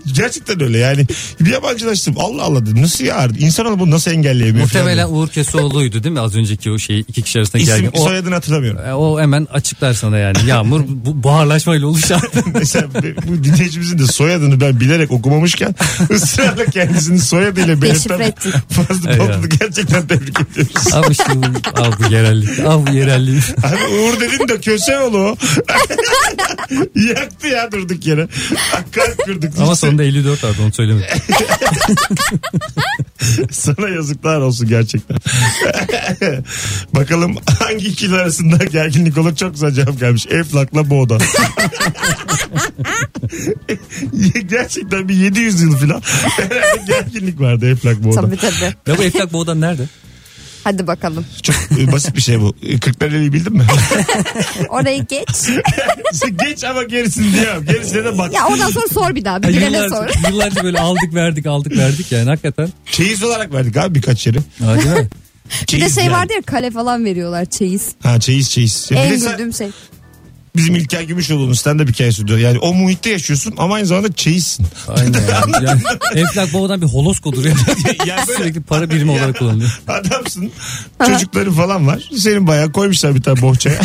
[SPEAKER 2] Gerçekten öyle yani. Bir yabancılaştım. Allah Allah dedim. Nasıl ya? İnsan bunu nasıl engelleyemiyor? falan
[SPEAKER 4] Muhtemelen
[SPEAKER 2] dedim.
[SPEAKER 4] Uğur Kesoğlu'ydu değil mi az önceki o şeyi iki kişi arasında
[SPEAKER 2] İsim
[SPEAKER 4] gergin. O,
[SPEAKER 2] soyadını hatırlamıyorum.
[SPEAKER 4] e, o hemen açıklar sana yani. Yağmur bu buharlaşmayla oluşan.
[SPEAKER 2] Mesela bu dinleyicimizin de soyadını ben bilerek okumamışken ısrarla kendisini soyadıyla
[SPEAKER 3] Deşifre
[SPEAKER 2] belirten
[SPEAKER 3] ettin.
[SPEAKER 2] fazla
[SPEAKER 4] Evet.
[SPEAKER 2] Polat'ı gerçekten tebrik ediyoruz.
[SPEAKER 4] Abi şu al bu yerellik. Al bu yerelliği.
[SPEAKER 2] Abi Uğur dedin de Köseoğlu o. Yaktı ya durduk yere. Kalp kırdık.
[SPEAKER 4] Ama sonunda 54 vardı onu söylemedim.
[SPEAKER 2] Sana yazıklar olsun gerçekten. Bakalım hangi ikili arasında gerginlik olur çok güzel cevap gelmiş. Eflak'la Boğda. gerçekten bir 700 yıl falan gerginlik vardı Eflak Boğda.
[SPEAKER 3] Tabii tabii.
[SPEAKER 4] Ya bu Eflak Boğdan nerede?
[SPEAKER 3] Hadi bakalım.
[SPEAKER 2] Çok e, basit bir şey bu. E, Kırklareli'yi bildin mi?
[SPEAKER 3] Orayı geç.
[SPEAKER 2] Sen Geç ama gerisini diyemem. Gerisine de bak.
[SPEAKER 3] Ya ondan sonra sor bir daha. Bir
[SPEAKER 4] Ya
[SPEAKER 3] bilene sor.
[SPEAKER 4] yıllarca, yıllarca böyle aldık verdik aldık verdik yani hakikaten.
[SPEAKER 2] Çeyiz olarak verdik abi birkaç yeri.
[SPEAKER 4] Ha, değil mi?
[SPEAKER 3] Bir de
[SPEAKER 2] Çeyiz
[SPEAKER 3] şey
[SPEAKER 2] yani.
[SPEAKER 3] vardı ya kale falan veriyorlar çeyiz.
[SPEAKER 2] Ha çeyiz çeyiz. Ya bir
[SPEAKER 3] en
[SPEAKER 2] de sen-
[SPEAKER 3] güldüğüm şey.
[SPEAKER 2] bizim İlker Gümüşoğlu'nun stand-up hikayesi diyor. Yani o muhitte yaşıyorsun ama aynı zamanda çeyizsin.
[SPEAKER 4] Aynen yani. yani Eflak Boğdan bir holosko duruyor.
[SPEAKER 2] Ya böyle-
[SPEAKER 4] Sürekli para birimi olarak kullanılıyor.
[SPEAKER 2] Adamsın. Çocukları falan var. Senin bayağı koymuşlar bir tane bohçaya.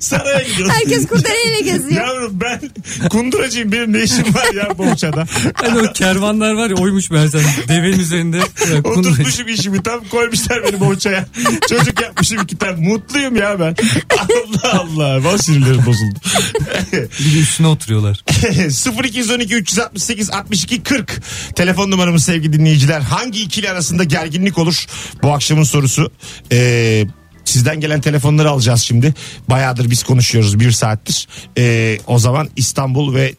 [SPEAKER 2] Saraya gidiyorsun.
[SPEAKER 3] Herkes kurdeleyle geziyor.
[SPEAKER 2] Yavrum ben kunduracıyım benim ne işim var ya bohçada.
[SPEAKER 4] Hani o kervanlar var ya oymuş meğersem devenin üzerinde. Ya, kunduracı.
[SPEAKER 2] Oturtmuşum işimi tam koymuşlar beni bohçaya. Çocuk yapmışım iki tane. Mutluyum ya ben. Allah Allah. Bana sinirlerim bozuldu.
[SPEAKER 4] Bir de üstüne oturuyorlar.
[SPEAKER 2] 0212 368 62 40 telefon numaramız sevgili dinleyiciler. Hangi ikili arasında gerginlik olur? Bu akşamın sorusu. Ee, sizden gelen telefonları alacağız şimdi. Bayağıdır biz konuşuyoruz bir saattir. Ee, o zaman İstanbul ve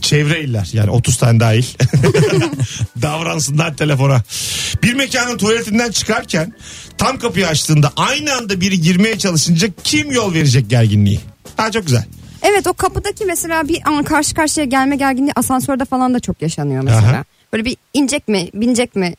[SPEAKER 2] çevre iller yani 30 tane dahil davransınlar telefona. Bir mekanın tuvaletinden çıkarken tam kapıyı açtığında aynı anda biri girmeye çalışınca kim yol verecek gerginliği? Ha çok güzel.
[SPEAKER 3] Evet o kapıdaki mesela bir an karşı karşıya gelme gerginliği asansörde falan da çok yaşanıyor mesela.
[SPEAKER 2] Aha.
[SPEAKER 3] Böyle bir inecek mi binecek mi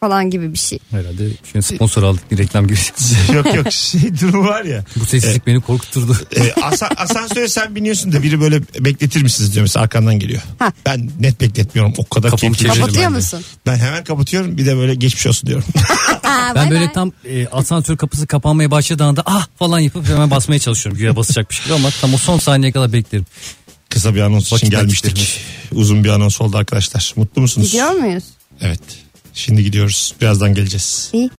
[SPEAKER 3] falan gibi bir şey.
[SPEAKER 4] Herhalde şimdi sponsor aldık bir reklam gireceğiz.
[SPEAKER 2] yok yok şey durumu var ya.
[SPEAKER 4] Bu sessizlik beni korkutturdu.
[SPEAKER 2] E, asa- asansöre sen biniyorsun da biri böyle bekletir misiniz diyor mesela arkandan geliyor.
[SPEAKER 3] Ha.
[SPEAKER 2] Ben net bekletmiyorum o kadar
[SPEAKER 4] Kafamı
[SPEAKER 2] keyifli.
[SPEAKER 4] çeviririm.
[SPEAKER 2] Kapat-
[SPEAKER 3] Kapatıyor
[SPEAKER 4] ben de.
[SPEAKER 3] musun?
[SPEAKER 2] Ben hemen kapatıyorum bir de böyle geçmiş olsun diyorum.
[SPEAKER 3] Aa,
[SPEAKER 4] Ben
[SPEAKER 3] bay
[SPEAKER 4] böyle
[SPEAKER 3] bay.
[SPEAKER 4] tam e, asansör kapısı kapanmaya başladığı anda ah falan yapıp hemen basmaya çalışıyorum. Güya basacakmış gibi ama tam o son saniyeye kadar beklerim.
[SPEAKER 2] Kısa bir anons için
[SPEAKER 4] Vakit
[SPEAKER 2] gelmiştik.
[SPEAKER 4] nakitlerimiz.
[SPEAKER 2] Uzun bir anons oldu arkadaşlar. Mutlu musunuz?
[SPEAKER 3] Gidiyor muyuz?
[SPEAKER 2] Evet. Şimdi gidiyoruz. Birazdan geleceğiz.
[SPEAKER 3] İyi.